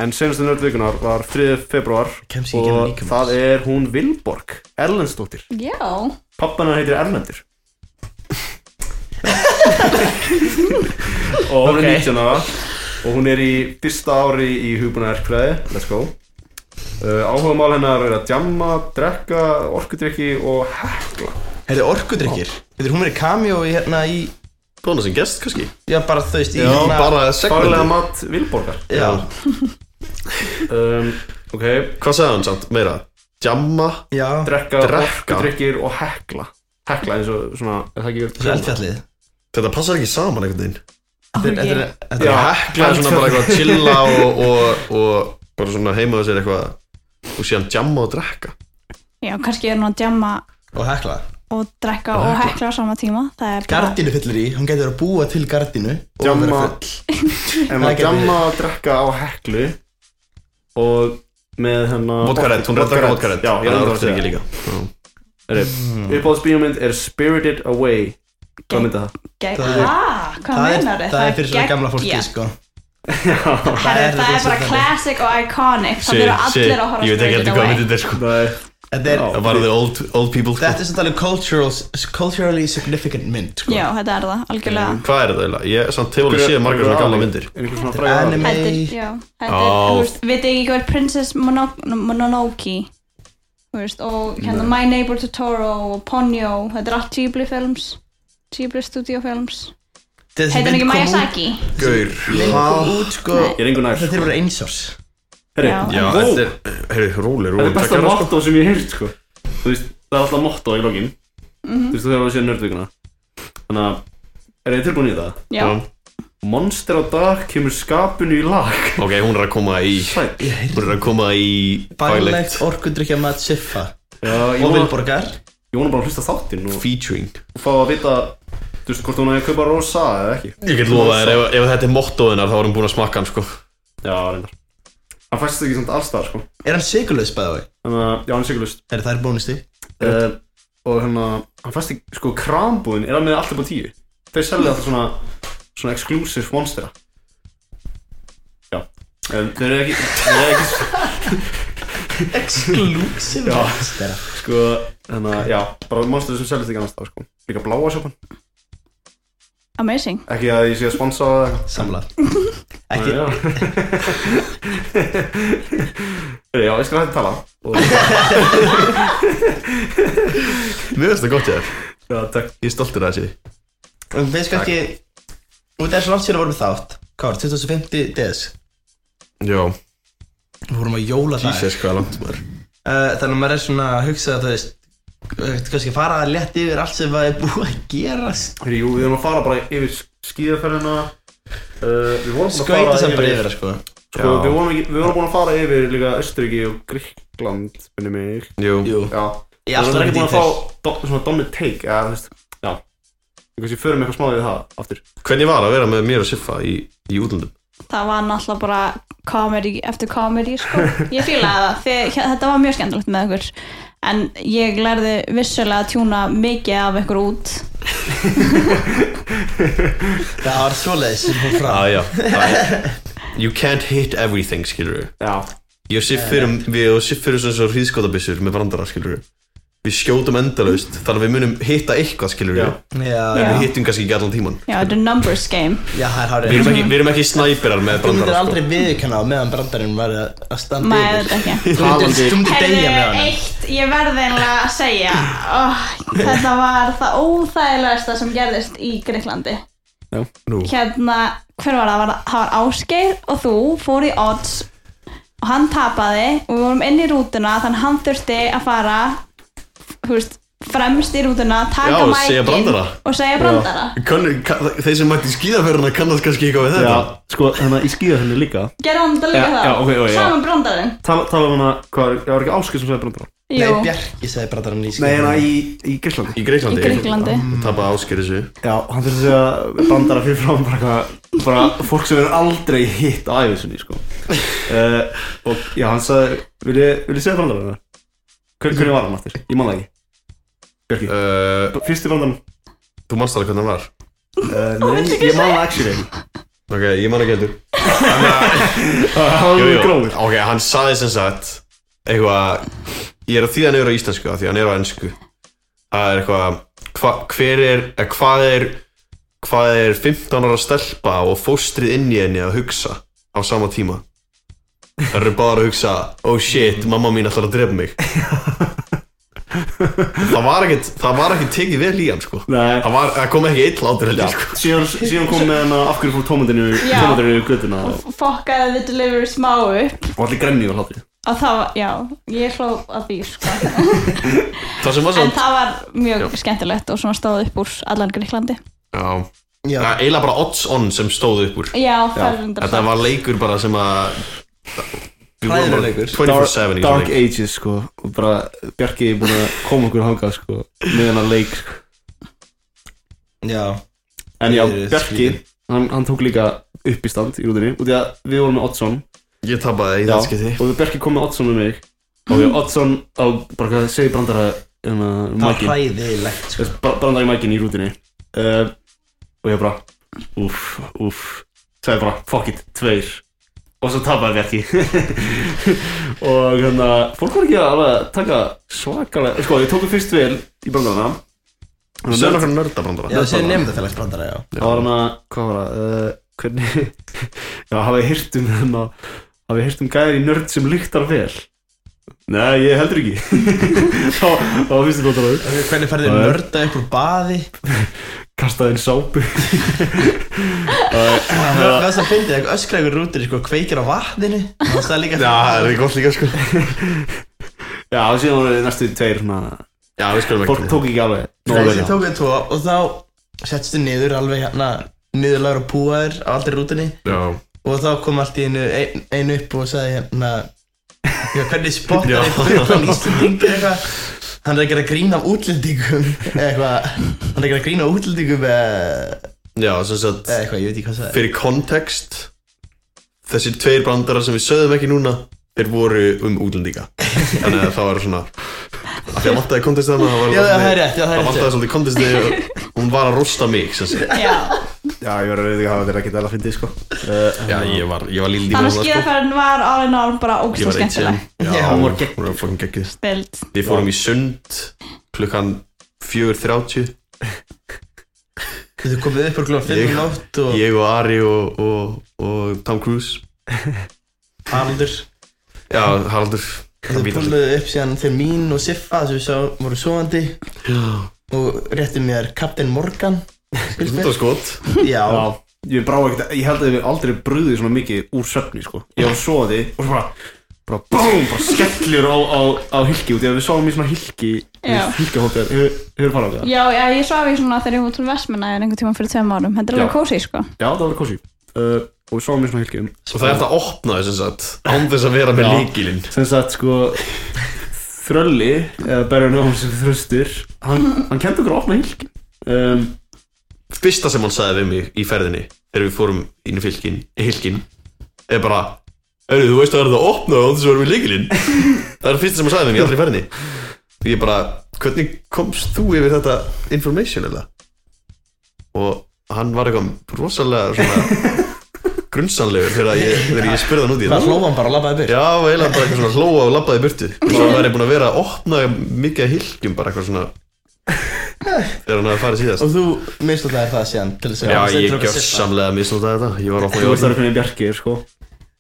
S1: En senastu nördvikunar var 3. februar
S2: Kemst ég ekki að
S1: Og
S2: líka
S1: það er hún Vilborg Erlendsdóttir
S4: Já,
S1: Pappan hennar heitir
S2: <laughs>
S1: Erlendur Og hún er
S2: Ok.
S1: 19 ára Og hún er í fyrsta ári í hugbúnaverkfræði Let's go Uh, áhugamál hennar er að djamma, drekka, orkudrykki og hekla
S2: Heyrðu orkudrykkir Heyrðu hún verið cameo í hérna í
S3: Bóna sem gest kannski
S2: Já bara þú veist
S3: Í
S2: í hérna-
S3: bara
S1: Farlega
S3: segmenti
S1: mat Vilborgar
S2: Já
S1: um, Ok,
S3: Hvað sagði hann samt meira? Jamma
S2: Já
S1: drekka,
S3: Drekka?
S1: orkudrykkir og hekla Hekla eins og svona, er það ekki
S2: Svo eldfjallið
S3: Þetta passar ekki saman einhvern veginn
S4: Ó,
S2: Þetta er
S4: ég-
S2: þetta
S1: Já.
S2: er
S3: Hekla er svona bara eitthvað að chilla <laughs> og, og, og bara svona heimaðu sér eitthvað og síðan jamma og drekka
S4: Já, kannski er hún að djamma
S2: Og hekla
S4: og drekka og hekla á sama tíma Það er bara,
S2: Gardínu fyllir í Hún getur að búa til gardínu og
S1: Djamma.
S2: vera full.
S1: En
S2: Það
S1: maður
S2: gæti
S1: djamma að drekka á heklu og með hérna- hennar
S3: Vodka Red, hún reddar
S1: Red.
S3: Vodka Red
S1: Já, ég
S3: það
S1: reyndar
S3: er
S1: að segja
S3: ekki
S1: líka
S3: líka
S1: Uppáðsbíómynd er Spirited Away Hvað myndi það?
S4: gegn-
S2: það er-
S4: Ah, hvað
S2: Það er-
S4: meinar þið?
S2: Það er fyrir svona gamla fólki sko Það er
S4: Það er
S2: rosa
S4: bara
S2: þannig.
S4: classic og iconic Það eru allir að
S3: ég veit ekki
S4: horfa Spirited
S3: heldur hvað
S4: Away.
S3: myndið er sko
S1: Nei
S2: Þetta er
S1: Já.
S3: Það var the old, old people sko
S2: Þetta er samt alveg cultural, culturally significant mynd sko
S4: Já, þetta er það, algjörlega
S3: Hvað er þetta eiginlega? Ég samt hefur alveg séð margar svona gamla myndir
S1: Er einhver svona
S2: Þetta er
S1: fræða
S2: anime
S4: Þetta er, já, þetta er,
S3: Á.
S4: þú veist, veit ekki hvað er Princess Mono Mononoke þú veist, og hérna My Neighbor Totoro og Ponyo, þetta er allt Ghibli films, Ghibli studio films
S2: Þessi
S4: heitir hann
S2: mynd
S4: ekki
S2: kom
S4: Miyazaki?
S3: Gaur
S2: Mynd kom út sko
S4: Nei.
S1: Ég er einhver nær
S2: Þetta er bara eins árs
S1: Herri,
S4: Já.
S3: Já,
S1: vó,
S3: þetta er, heyrðu, róli,
S1: Þetta
S3: róli
S1: er besta motto sem ég heilt sko Þú veist, það er alltaf motto í lokin Þú veist, þú hefur að sé nördvíkuna Þannig að Er þið tilbúin í það?
S4: Já,
S1: Monster á dag kemur skapinu í <laughs> lag
S3: Ok, hún er að koma í
S1: Sæl
S3: Hún er að koma í
S2: Bælegt orkudrykja mat siffa
S1: Já, ég
S2: Og
S1: vona
S2: vilborgar
S1: ég vona bara að hlusta á þáttinn og
S3: Featuring
S1: fá að vita Þú veist, hvort hún hefði kaupað rosa eða ekki
S3: Ég get lofa þér, ef, ef þetta er mottóðinar þá erum búin að smakka hann sko
S1: Já, reyndar
S5: Hann fæst ekki samt allstað sko
S2: Er hann sigurlaus bæði vei?
S1: Þannig að, já, hann er sigurlust
S2: Er það er bónusti?
S1: uh,
S5: Og hérna
S1: Hann fæst ekki, sko, krambúðin er hann með alltaf á tíu Þeir selja alltaf svona Svona exclusive monstera Já um, Þeir eru ekki, þeir eru ekki
S2: Exclusive
S1: Já.
S2: Þeirra.
S1: Sko, þannig að, já, bara monster sem seljast ekki annars það, sko. Líka bláa sjópan.
S4: Amazing
S1: Ekki að ég sé að sponsa það eða
S2: Samlar Ekki
S1: eitthvað. Ekki. Já, já ég skal hægt að tala. Og,
S3: Mér finnst það gott ég
S1: já, takk.
S3: Ég er stoltur að þessi
S2: Við veist kannski Út er svo langt sér að vorum við þátt Hvað var, 2050 DS
S3: Já,
S2: Við vorum að jóla það
S3: Jesus hvað er langt maður
S2: Þannig að maður er svona að hugsa að þú veist Þú kannski fara létt yfir allt sem það er búið að gerast
S1: Heri, jú, við erum að fara bara yfir skíðaferðina. Uh, við vorum búin að fara
S2: Skauta sem bara yfir það sko
S1: Sko,
S3: Já.
S1: við vorum, ekki, við vorum búin að fara yfir líka Östuríki og Gríkland, finnum mig.
S3: Jú,
S2: Jú
S1: Já. Við
S2: Ég er alltaf
S1: vorum ekki
S2: ekki
S1: búin
S2: í
S1: að fá
S2: þess
S1: do, svona domnit take, eða, þú veist, já. Ég kannski förum eitthvað smá við það aftur.
S3: hvernig var að vera með mér og Siffa í, í útlöndum?
S4: Það var náttúrulega bara komedi eftir komedi
S2: <laughs>
S4: sko. Ég fílaði það, þið, þetta var mjög skemmtilegt með okkur En ég lærði vissulega að tjúna mikið af ykkur út
S2: Það var svoleiðis sem hún frá
S3: Já, Ah,
S2: <laughs>
S3: já það- You can't hit everything, skilur við
S1: Já.
S3: Ég og Siff erum, við og Siff erum svona svo hríðskotabissur með brandara, skilur við Við skjótum endalaust, þannig að við munum hitta eitthvað, skilur við
S1: Já.
S2: Já,
S3: En
S4: Já.
S3: við hittum kannski ekki allan tíman
S4: Já, þetta er numbers game
S2: já, það er
S3: Við
S2: hárið
S3: erum ekki, við erum ekki snæperar með
S2: Þú myndir
S3: brandara, sko
S2: aldrei viðurkenna á meðan brandarinn var að- að standa
S4: Maður
S2: yfir
S4: þetta ekki
S2: Þú myndir- Þú myndir deyja með
S4: Heyrðu,
S2: hann
S4: eitt, ég verði einlega að segja oh, Þetta var það óþægilegasta sem gerðist í Greiklandi
S3: Nú,
S4: Hérna, hver var það? Var, það- það var Ásgeir og þú fór í odds og hann tapaði og við vorum inn í rútuna þannig hann þurfti að fara þú veist, fremst í rútuna taka
S3: Já, og
S4: mækinn
S3: segja brandara.
S4: og segja brandara
S3: kann, kann, sko. þeir sem mætti skíðaferðina kannast kannski eitthvað við
S1: Já,
S3: þetta
S1: sko, þannig að í skíðaferðinu líka,
S4: gerði hann þetta líka
S1: Já,
S4: það?
S1: já, ok, ok, já.
S4: saman brandarinn
S1: tala, tala um hana, hvað, var- var ekki Áskil sem sagði brandara?
S2: Nei,
S4: Jú,
S2: Bjarki sagði brandarinn í
S5: Nei, hérna
S2: skipinu.
S5: í, í Gríslandi
S3: Í Greiklandi
S4: í Greiklandi
S3: Tapa ásker þessu
S1: Já, hann þurfti að brandara fyrir fram bara, eitthvað- bara fólk sem er aldrei hitt á æfisunni, sko uh, Og já, hann sagði, vil ég, vil ég segja brandara hennar? Hver, hvernig var hann aftur? Ég man það ekki Björki,
S3: uh,
S1: fyrsti brandaran?
S3: Þú manst alveg hvernig hann var
S1: Uh, nei, ég man það actually ekki
S3: Ok, ég man ekki heldur
S1: Það var
S3: Jú,
S1: mjög
S3: jú.
S1: gróður
S3: Ok, hann saði sem sagt eitthvað, ég er að þýða neyra á íslensku af því hann er á ennsku það er eitthvað, hva, hver er eh, hvað er hvað er 15 ára stelpa og fóstrið inn í henni að hugsa á sama tíma það eru bara að hugsa oh shit, mamma mín ætlar að drepa mig það var ekkert það var ekkert tekið vel í hann sko
S1: Nei,
S3: það, var, það kom ekki eitt látur heldur sko.
S1: síðan, síðan kom með hann af hverju fór tómatinu
S4: Já.
S1: tómatinu í göttuna og
S4: fokkaði við delivery smá upp
S1: og allir gremni og hlátti
S4: og það var, já, ég hló að því sko.
S3: það sem var
S4: en
S3: samt
S4: það var mjög
S3: Já.
S4: skemmtilegt og svona stóð upp úr allan Greiklandi
S3: já,
S2: Já,
S3: það er eiginlega bara odds on sem stóð upp úr
S4: já, það er reyndar
S3: Þetta
S4: satt.
S3: var leikur bara sem að Við vorum bara
S2: Hræðilegur
S3: 24-7 í
S2: leikur.
S3: þessum
S1: Dark
S3: leik.
S1: Ages, sko og bara Björki er búin að koma okkur hangað, sko með hennar leik, sko
S2: já
S1: En já,
S2: Ég er
S1: Bjarki,
S2: skrýtin.
S1: hann, hann tók líka upp í stand í rúðinni Útið að við vorum með Oddsson
S3: Ég tapaði í
S1: Já,
S3: það skytti
S1: Og Bjarki kom með Oddsson með mig Og við Oddsson á bara hvað segi brandara um,
S2: Það var
S1: mækin,
S2: hræðilegt sko.
S1: Brandara í mækin í rúðinni uh, Og ég bara Úff, úff Svo ég bara, fuck it, tveir Og svo tapaði Bjarki <laughs> Og hérna, fólk var ekki alveg að taka svakalega Sko, ég tók við fyrst vel í brandarana
S3: Sjöðan okkur nördabrandara
S2: Já, það séu nefndafélags brandara, já
S1: Það var hérna- hann að, hvað var það, uh, hvernig, já, hafið hýrt um hann að, hafið hýrt um gæðir í nörd sem lyktar vel? Nei, ég heldur <laughs> ekki. þá, þá finnst þið gott að það.
S2: Hvernig
S1: Það
S2: færðu
S1: er-
S2: nörda upp úr baði?
S1: Kastaði inn sápu.
S2: Það var það sem fyndið, eitthvað öskra ykkur rútur, sko, kveikir á vatninu Það var það líka
S3: Já, það er gott líka sko
S1: Já, og síðan voru næstu tveir svona,
S3: Já, við skulum
S1: fólk
S3: ekki
S1: tók ekki alveg. nógu
S2: Þessi
S1: vel.
S2: tók við tvo og þá settstu niður alveg hérna niðurlagur og púaður á aldrei rútunni
S3: Já,
S2: og þá kom allt í einu, ein, einu upp og sagði hérna Já, hvernig spottar
S3: Já.
S2: þið fullan Íslandingir eitthvað Hann er að gera grín af útlendingum eða eitthvað Hann er að gera grín af útlendingum eða
S3: já, sem sagt
S2: Eh. eða eitthvað, ég veit ekki hvað það er
S3: Fyrir kontekst þessir tveir brandarar sem við sögðum ekki núna þeir voru um útlendinga þannig að það var svona af því að vantaði kontestið hana það var-
S2: Já, það er rétt, já, það er
S3: það
S2: rétt.
S3: vantaði svolítið kontestið og hún var að rosta mig sem sagt.
S4: Já,
S1: Já, ég var að reyða ekki að hafa þetta ekki alveg að fyndi, sko
S3: já, ég var, ég var lítið sko.
S4: þannig að skíðafærin var all in all bara
S3: ég
S4: ógst og
S3: var eitt sem
S4: skemmtileg
S3: já,
S2: Já,
S3: hún
S2: hún
S3: var fucking geggjuð
S4: Stilt
S3: við fórum í sund klukkan 4.30
S2: Þau komið upp úr glóðum
S3: Ég-
S2: fimm í nótt og
S3: ég og Ari og, og, og Tom Cruise
S2: Haraldur
S3: já, Haraldur
S2: Þau
S3: hann vítar-
S2: púluðu upp síðan til mín og Siffa sem við sá voru svoandi
S3: Já,
S2: og rétti mér Captain Morgan Skilst
S3: þetta
S2: mér?
S3: var skot
S2: Já,
S1: Já, ég brá ekkert, ég held að ég hef aldrei brúðið svona mikið úr söfni, sko Ég var svoði og svo bara, bara BOOM, bara skellur á, á, á hilki út Þegar við sáum í svona hilki,
S4: Já.
S1: hilkihóttir Hefur farað á það?
S4: Já, já, ég svaf í svona þegar ég fór til Vestmanna einhvern tíma fyrir tveim árum, þetta er
S1: Já.
S4: alveg kósi sko.
S1: Já, það var kosi uh, Og við sáum í svona hilki um
S3: og það er þetta að opna þess að án þess að vera með
S1: Já.
S3: líkilinn
S1: sem sagt sko Þrölli, eða Berjan Jóhannsson Þröstur, hann, hann kendi okkur að opna hilki um,
S3: fyrsta sem hann sagði við mig í ferðinni þegar við fórum inn í fylkin, í hilkin er bara Öru, þú veist að það er það að opna og þess að vera með líkilinn það er fyrsta sem hann sagði við mig í allri ferðinni og ég bara, hvernig komst þú yfir þetta information eða og hann var eitthvað rosalega svona grunnsanlegur þegar ég, þegar ég spurði hann út í
S2: það
S3: það
S2: hlóð hann bara og labbaði byrj
S3: Já, og eiginlega bara eitthvað svona hlóa og labbaði í burtu og svo var ég búin að vera að opna mikið að hilkjum bara eitthvað svona þegar hann hafði farið síðast
S2: Og þú misnótaði það síðan til þess að
S3: Já,
S2: hann setur
S3: ég
S2: okkur Siffa.
S3: gjörsamlega misnótaði þetta Ég var ofna í
S1: Þú veist það
S3: orðin
S1: er hvernig Bjarki er sko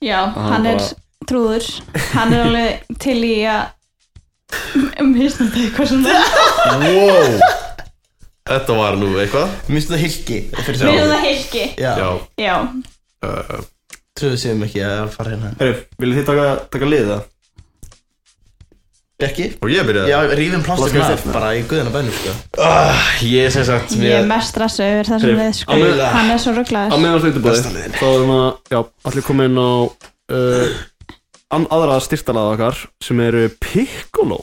S4: Já, hann
S1: bara-
S4: er trúður, hann er alveg til í að misnota eitthvað svona.
S3: Wow Þetta var nú eitthvað
S2: Misnótaði Hilki fyrir sig
S4: Við erum það hilki.
S3: Já,
S2: Já,
S4: Já,
S3: uh,
S2: trúðu séum ekki að fara hérna
S1: Herru, viljið þið taka, taka liða?
S2: Bjarki?
S3: og ég byrjaði
S2: Já, rífum plástum
S1: Plásturinn
S2: af
S1: af.
S2: bara í guðan og bænum sko
S3: uh, hérna. Ég sem sagt
S4: ég er mest stressað yfir þessum
S1: Heyrðu,
S4: lið
S1: á
S4: sko,
S1: meðan-
S4: hann er svo
S1: Á
S4: rugglaður.
S1: meðan það
S3: Besta
S1: stundabóði
S3: liðin.
S1: Þá erum að, já, allir komið inn á uh, an, aðra styrtalaða okkar sem eru Piccolo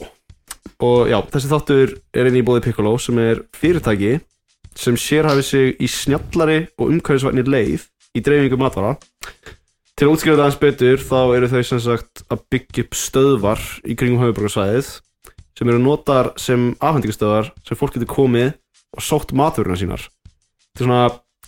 S1: og já, þessi þáttur er inn í bóði Piccolo sem er fyrirtæki sem sérhæfi sig í snjallari og umhverfisvætni leið í dreifingu matvara Til að útskrifa það aðeins betur þá eru þau sem sagt að byggja upp stöðvar í kringum höfuborgarsvæðið sem eru notar sem afhendingastöðvar sem fólk getur komið og sótt matvöruna sínar Þetta er svona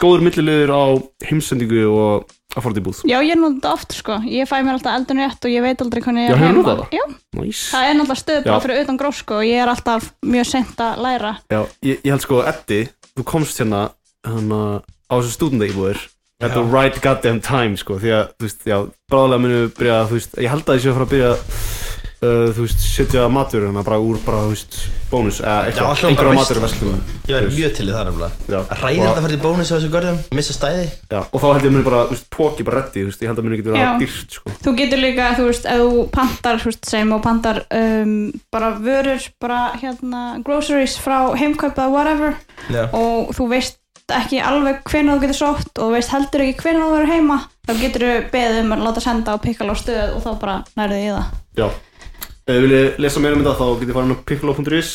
S1: góður millilegur á heimsendingu og að fara til búð
S4: Já, ég nota þetta oft sko, ég fæ mér alltaf eldun rétt og ég veit aldrei
S1: Já,
S4: hvernig ég er
S1: hefurðu notað það?
S4: Já,
S1: Næs
S4: það er náttúrulega stöð bara
S1: Já.
S4: fyrir utan gróf sko og ég er alltaf mjög sent að læra.
S1: Já, ég, ég held sko, Eddi, þú komst hérna hana, á þessu stúdendegibúðir at the right goddamn time sko því að, þú veist, já, bráðlega munum við byrja þú veist, ég held að ég sé að fara að byrja uh, þú veist, setja matur hérna bara úr bara, þú veist, bónus eða
S2: Já,
S1: eitthvað,
S2: hljómar
S1: einhverja
S2: veist.
S1: matur
S2: Ég væri mjög til í það nefnilega
S1: Já,
S2: Að Ræðir
S1: Og-
S2: þetta fyrir bónus á þessu görðum, missa stæði
S1: já, og þá held ég muni bara, þú veist, póki bara reddi, þú veist, ég held að muni getur
S4: Já.
S1: það dýrt sko
S4: Þú getur líka, þú veist, ef þú pantar, þú veist, segjum og pantar um, bara vörur, bara hérna groceries frá heimkaupa, whatever
S2: Já
S4: og þú veist ekki alveg hvenær þú getur sótt og þú veist heldur ekki hvenær þú verður heima þá getur þú beðið um að láta senda og pikka á stöð og þá bara nærðið í það
S1: Já, ef þið viljið lesa meira um þetta þá getur farin á piccolo.is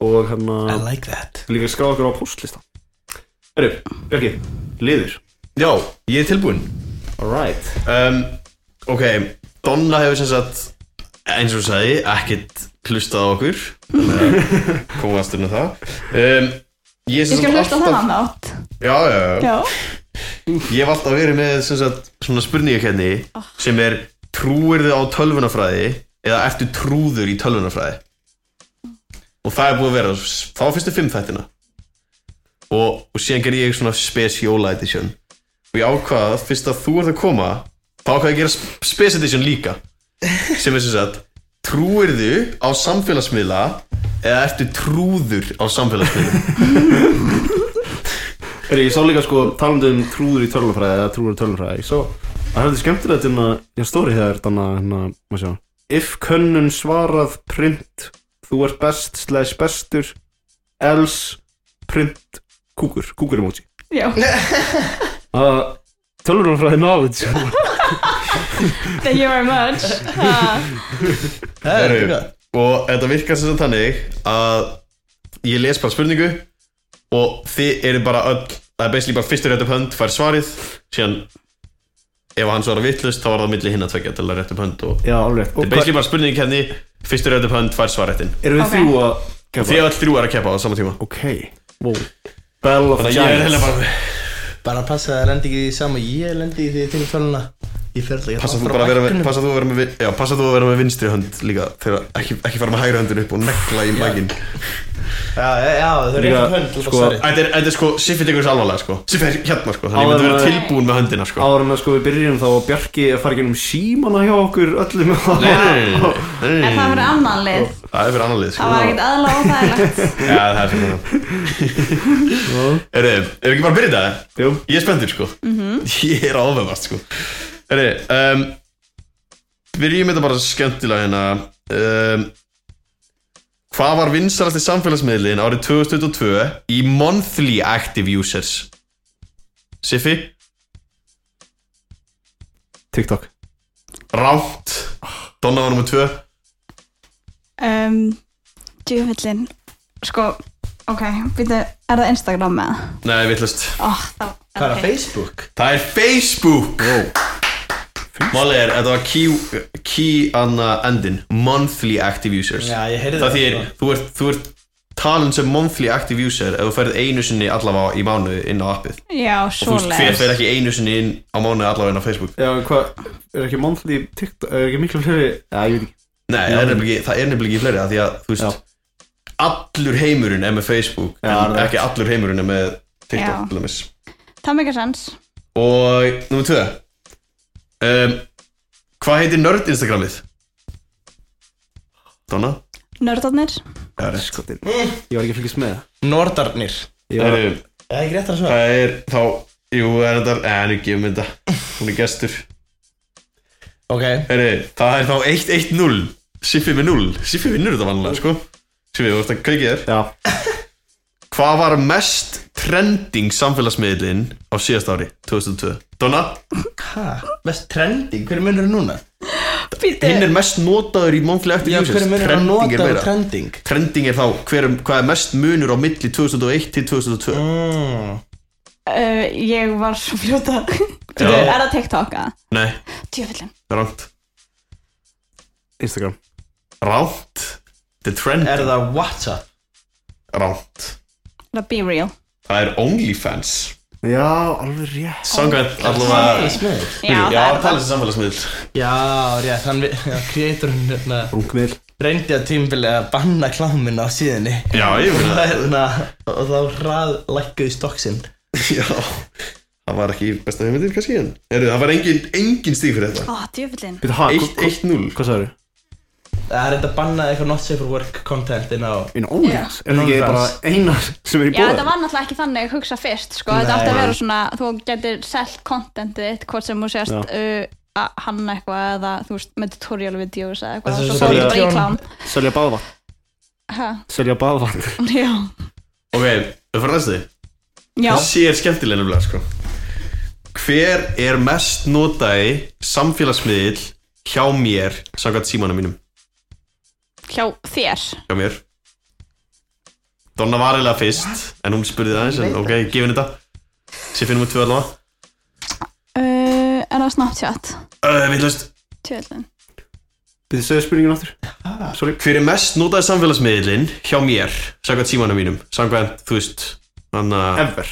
S1: og hérna
S2: I like that
S1: líka skrá okkur á postlista Herru, Björki, liður
S3: Já, ég er tilbúinn
S1: Alright
S3: um, Ok, Donna hefur sem sagt eins og hún sagði, ekkert hlustað á okkur Þannig að komast inn á það um, Ég, sem
S4: Ég skal
S3: sagt
S4: hlusta á
S3: alltaf-
S4: þennan átt
S3: Já, já, já
S4: Já,
S3: Ég hef alltaf verið með sem sagt, svona spurningakenni sem er trúirðu á tölvunafræði eða ertu trúður í tölvunafræði og það er búið að vera þá fyrstu fimm þættina og, og síðan ger ég svona special edition og ég ákvað að fyrst að þú ert að koma þá ákvað ég að gera sp- special edition líka sem er sem sagt trúirðu á samfélagsmiðla eða ertu trúður á samfélagsmiðla
S1: Herru, ég sá líka sko talandi um trúður í tölunfræði eða trúður í tölunfræði Ég sá að hefði skemmtilegt hérna ég stóri hér þannig að hérna, maður sjá If könnun svarað print þú ert best slash bestur else print kúkur, kúkur emoji <laughs>
S4: já,
S1: uh,
S3: Ah,
S1: Tölunfræði knowledge
S4: thank you very much uh,
S2: Það er
S3: Herru.
S2: ekki hvað
S3: og þetta virkar sem sagt þannig að ég les bara spurningu og þið eru bara öll það er basically bara fyrstur rétt upp hönd fær svarið síðan ef hann svarar vittlust þá var það milli hinn að tvekja til að rétt upp hönd og
S1: <laughs> Já, alveg rétt.
S3: þetta er
S1: Og hvað,
S3: basically bara spurning henni fyrstur rétt upp hönd, tvær svarrættin
S1: erum við
S4: Ok.
S1: þrjú að keppa?
S3: því að all þrjú er að keppa á sama tíma
S1: Ok, wow. Battle of
S3: þannig að ég er
S1: Giants.
S3: heila bara
S2: Bara passa að það lendi ekki í því sama Ég lendi í því þínu töluna Ég fer alltaf
S3: passa þú bara að vera með passa þú að vera með, vi- já, passa þú að vera með vinstri hönd líka þegar ekki, ekki fara með hægri höndin upp og negla í mækin
S2: Já, já, já, þau eru
S1: Líka,
S2: eitthvað hönd
S1: sko,
S2: Sko
S3: þetta er, þetta er sko Siffi tekur þessu alvarlega sko Siffi er hérna sko þannig að ég
S1: Áður
S3: myndi vera
S1: en að-
S3: tilbúin með höndina sko
S1: Áður en að sko við byrjum þá var Bjarki að fara gennum símana hjá okkur öllum <laughs>
S3: nei, nei, nei, nei,
S4: En
S3: nei,
S4: það
S3: nei.
S4: fyrir annan lið
S3: það er fyrir annan lið sko
S4: Það var ekkert aðlega óþægilegt
S3: <laughs> já, það er fyrir annan eru, eru ekki bara að byrja þetta?
S1: Jú,
S3: Ég er spenntur sko Ég er áfæðast sko Heri, um, Byrjum þetta bara skemmtilega hérna um, Hvað var vinsalast í samfélagsmiðlin árið 2022 í monthly active users? Siffi,
S1: TikTok
S3: rátt Donna var nummer 2
S4: um, Djúfellin Sko, ok, býttu Er það Instagram með?
S3: Nei, vittlust
S4: Oh, það,
S2: Hvað er það, Facebook?
S3: Það er Facebook Máli er, þetta var key, key anna endin Monthly active users
S2: Já, ég heyrði
S3: það þýr,
S2: sko.
S3: þú ert, þú ert talin sem monthly active user ef þú ferð einu sinni allavega í mánuði inn á appið
S4: Já,
S3: þú veist, hver
S4: svoleiðis
S3: fer ekki einu sinni inn á mánuði allavega inn á Facebook
S1: Já, en hvað, er ekki monthly TikTok, er ekki miklu fleiri Já, ég veit ekki
S3: Nei, það er nefnilega ekki- það er nefnilega ekki fleiri af því að, þú veist, allur heimurinn er með Facebook
S1: Já,
S3: en
S1: það er
S3: ekki allur heimurinn er með
S4: Já.
S3: TikTok til dæmis.
S4: Það meikar sens
S3: og nummer tvö um, hvað heitir nörd Instagramið? Donna?
S4: Nördarnir
S3: Já, rétt.
S1: Skotin Ég var ekki að fylgjast með það
S2: Nordarnir
S1: Ég
S3: Það
S1: var,
S3: eru-
S2: Það er ekki rétt að svara
S3: Það er þá, jú, það er þetta, en ekki um þetta, hún er gestur.
S2: Ok
S3: Heri, það er þá 1-1-0 Siffi með 0 Siffi vinnur þetta vanlega sko Siffi, þú ert að kveikið þér
S1: já,
S3: Hvað var mest trending samfélagsmiðlinn á síðast ári, 2002? Donna,
S2: Hæ? Mest trending, hver munur er núna?
S4: Býttu
S3: hinn er mest notaður í monthly active
S2: Já,
S3: users
S2: hver munur er að
S3: Trending er
S2: nota og
S3: meira
S2: trending?
S3: Trending er þá, hver, er- hvað er mest munur á milli 2001 til 2002
S2: Mm.
S4: uh, Ég var svo fljóta Býttu,
S3: Já.
S4: er það TikTok að?
S3: Nei,
S4: Djúfellin
S3: rámt
S1: Instagram
S3: Rámt The trend,
S2: Er það WhatsApp?
S3: rámt
S4: Það be real
S3: Það er OnlyFans
S1: Já, alveg rétt
S3: Samkvæmt
S2: Það
S3: allavega
S2: er smiður
S4: Já, það
S3: Já,
S4: er það
S3: talað sem samfélagsmiðl
S2: Já, rétt, hann, vi- <laughs> já, kreatorinn hérna
S1: Rungmiðl
S2: reyndi að tímfili að banna klámin á síðinni
S3: Já, ég meina
S2: Það er svona, og þá hraðlækkuði stokksinn
S3: <laughs> Já, það var ekki besta hugmyndin kannski en Heru, það var engin, engin stíg fyrir þetta
S4: Ó, djúfellin
S1: Býta, hæ,
S3: 1-1-0
S1: hvað sagður?
S2: Það er þetta að banna eitthvað not safe for work content inn á
S1: In OnlyFans Er það ekki bara
S2: OnlyFans.
S1: eina sem er í
S4: Já, þetta
S1: bóða?
S4: var náttúrulega ekki þannig hugsa fyrst sko. þetta
S2: Nei.
S4: átti að vera svona, þú getur selt contentið þitt, hvort sem þú sést uh, að hanna eitthvað eða þú veist, með tutorial videos eða eitthvað
S2: Þessi
S4: og svo
S2: sem
S4: fór
S1: selja-
S4: bara í klám
S1: Selja baðvann
S4: Ha,
S1: Selja baðvann
S4: Já,
S3: Ok, við fyrir næstu
S4: já,
S3: Þessi er skemmtilega nefnilega sko. Hver er mest notaði samfélagsmiðl hjá mér samkvæmt símanum mínum
S4: hjá þér
S3: hjá mér Donna var eiginlega fyrst en hún spurði það aðeins en ok, gefin þetta Sér finnum við tvö allavega
S4: uh, Er það Snapchat?
S3: uh, Villust,
S4: Tjöldin
S1: Býta, segja spurningin aftur
S3: hver er mest notaði samfélagsmiðlin hjá mér samkvæmt símanum mínum samkvæmt, þú veist Anna...
S1: Ever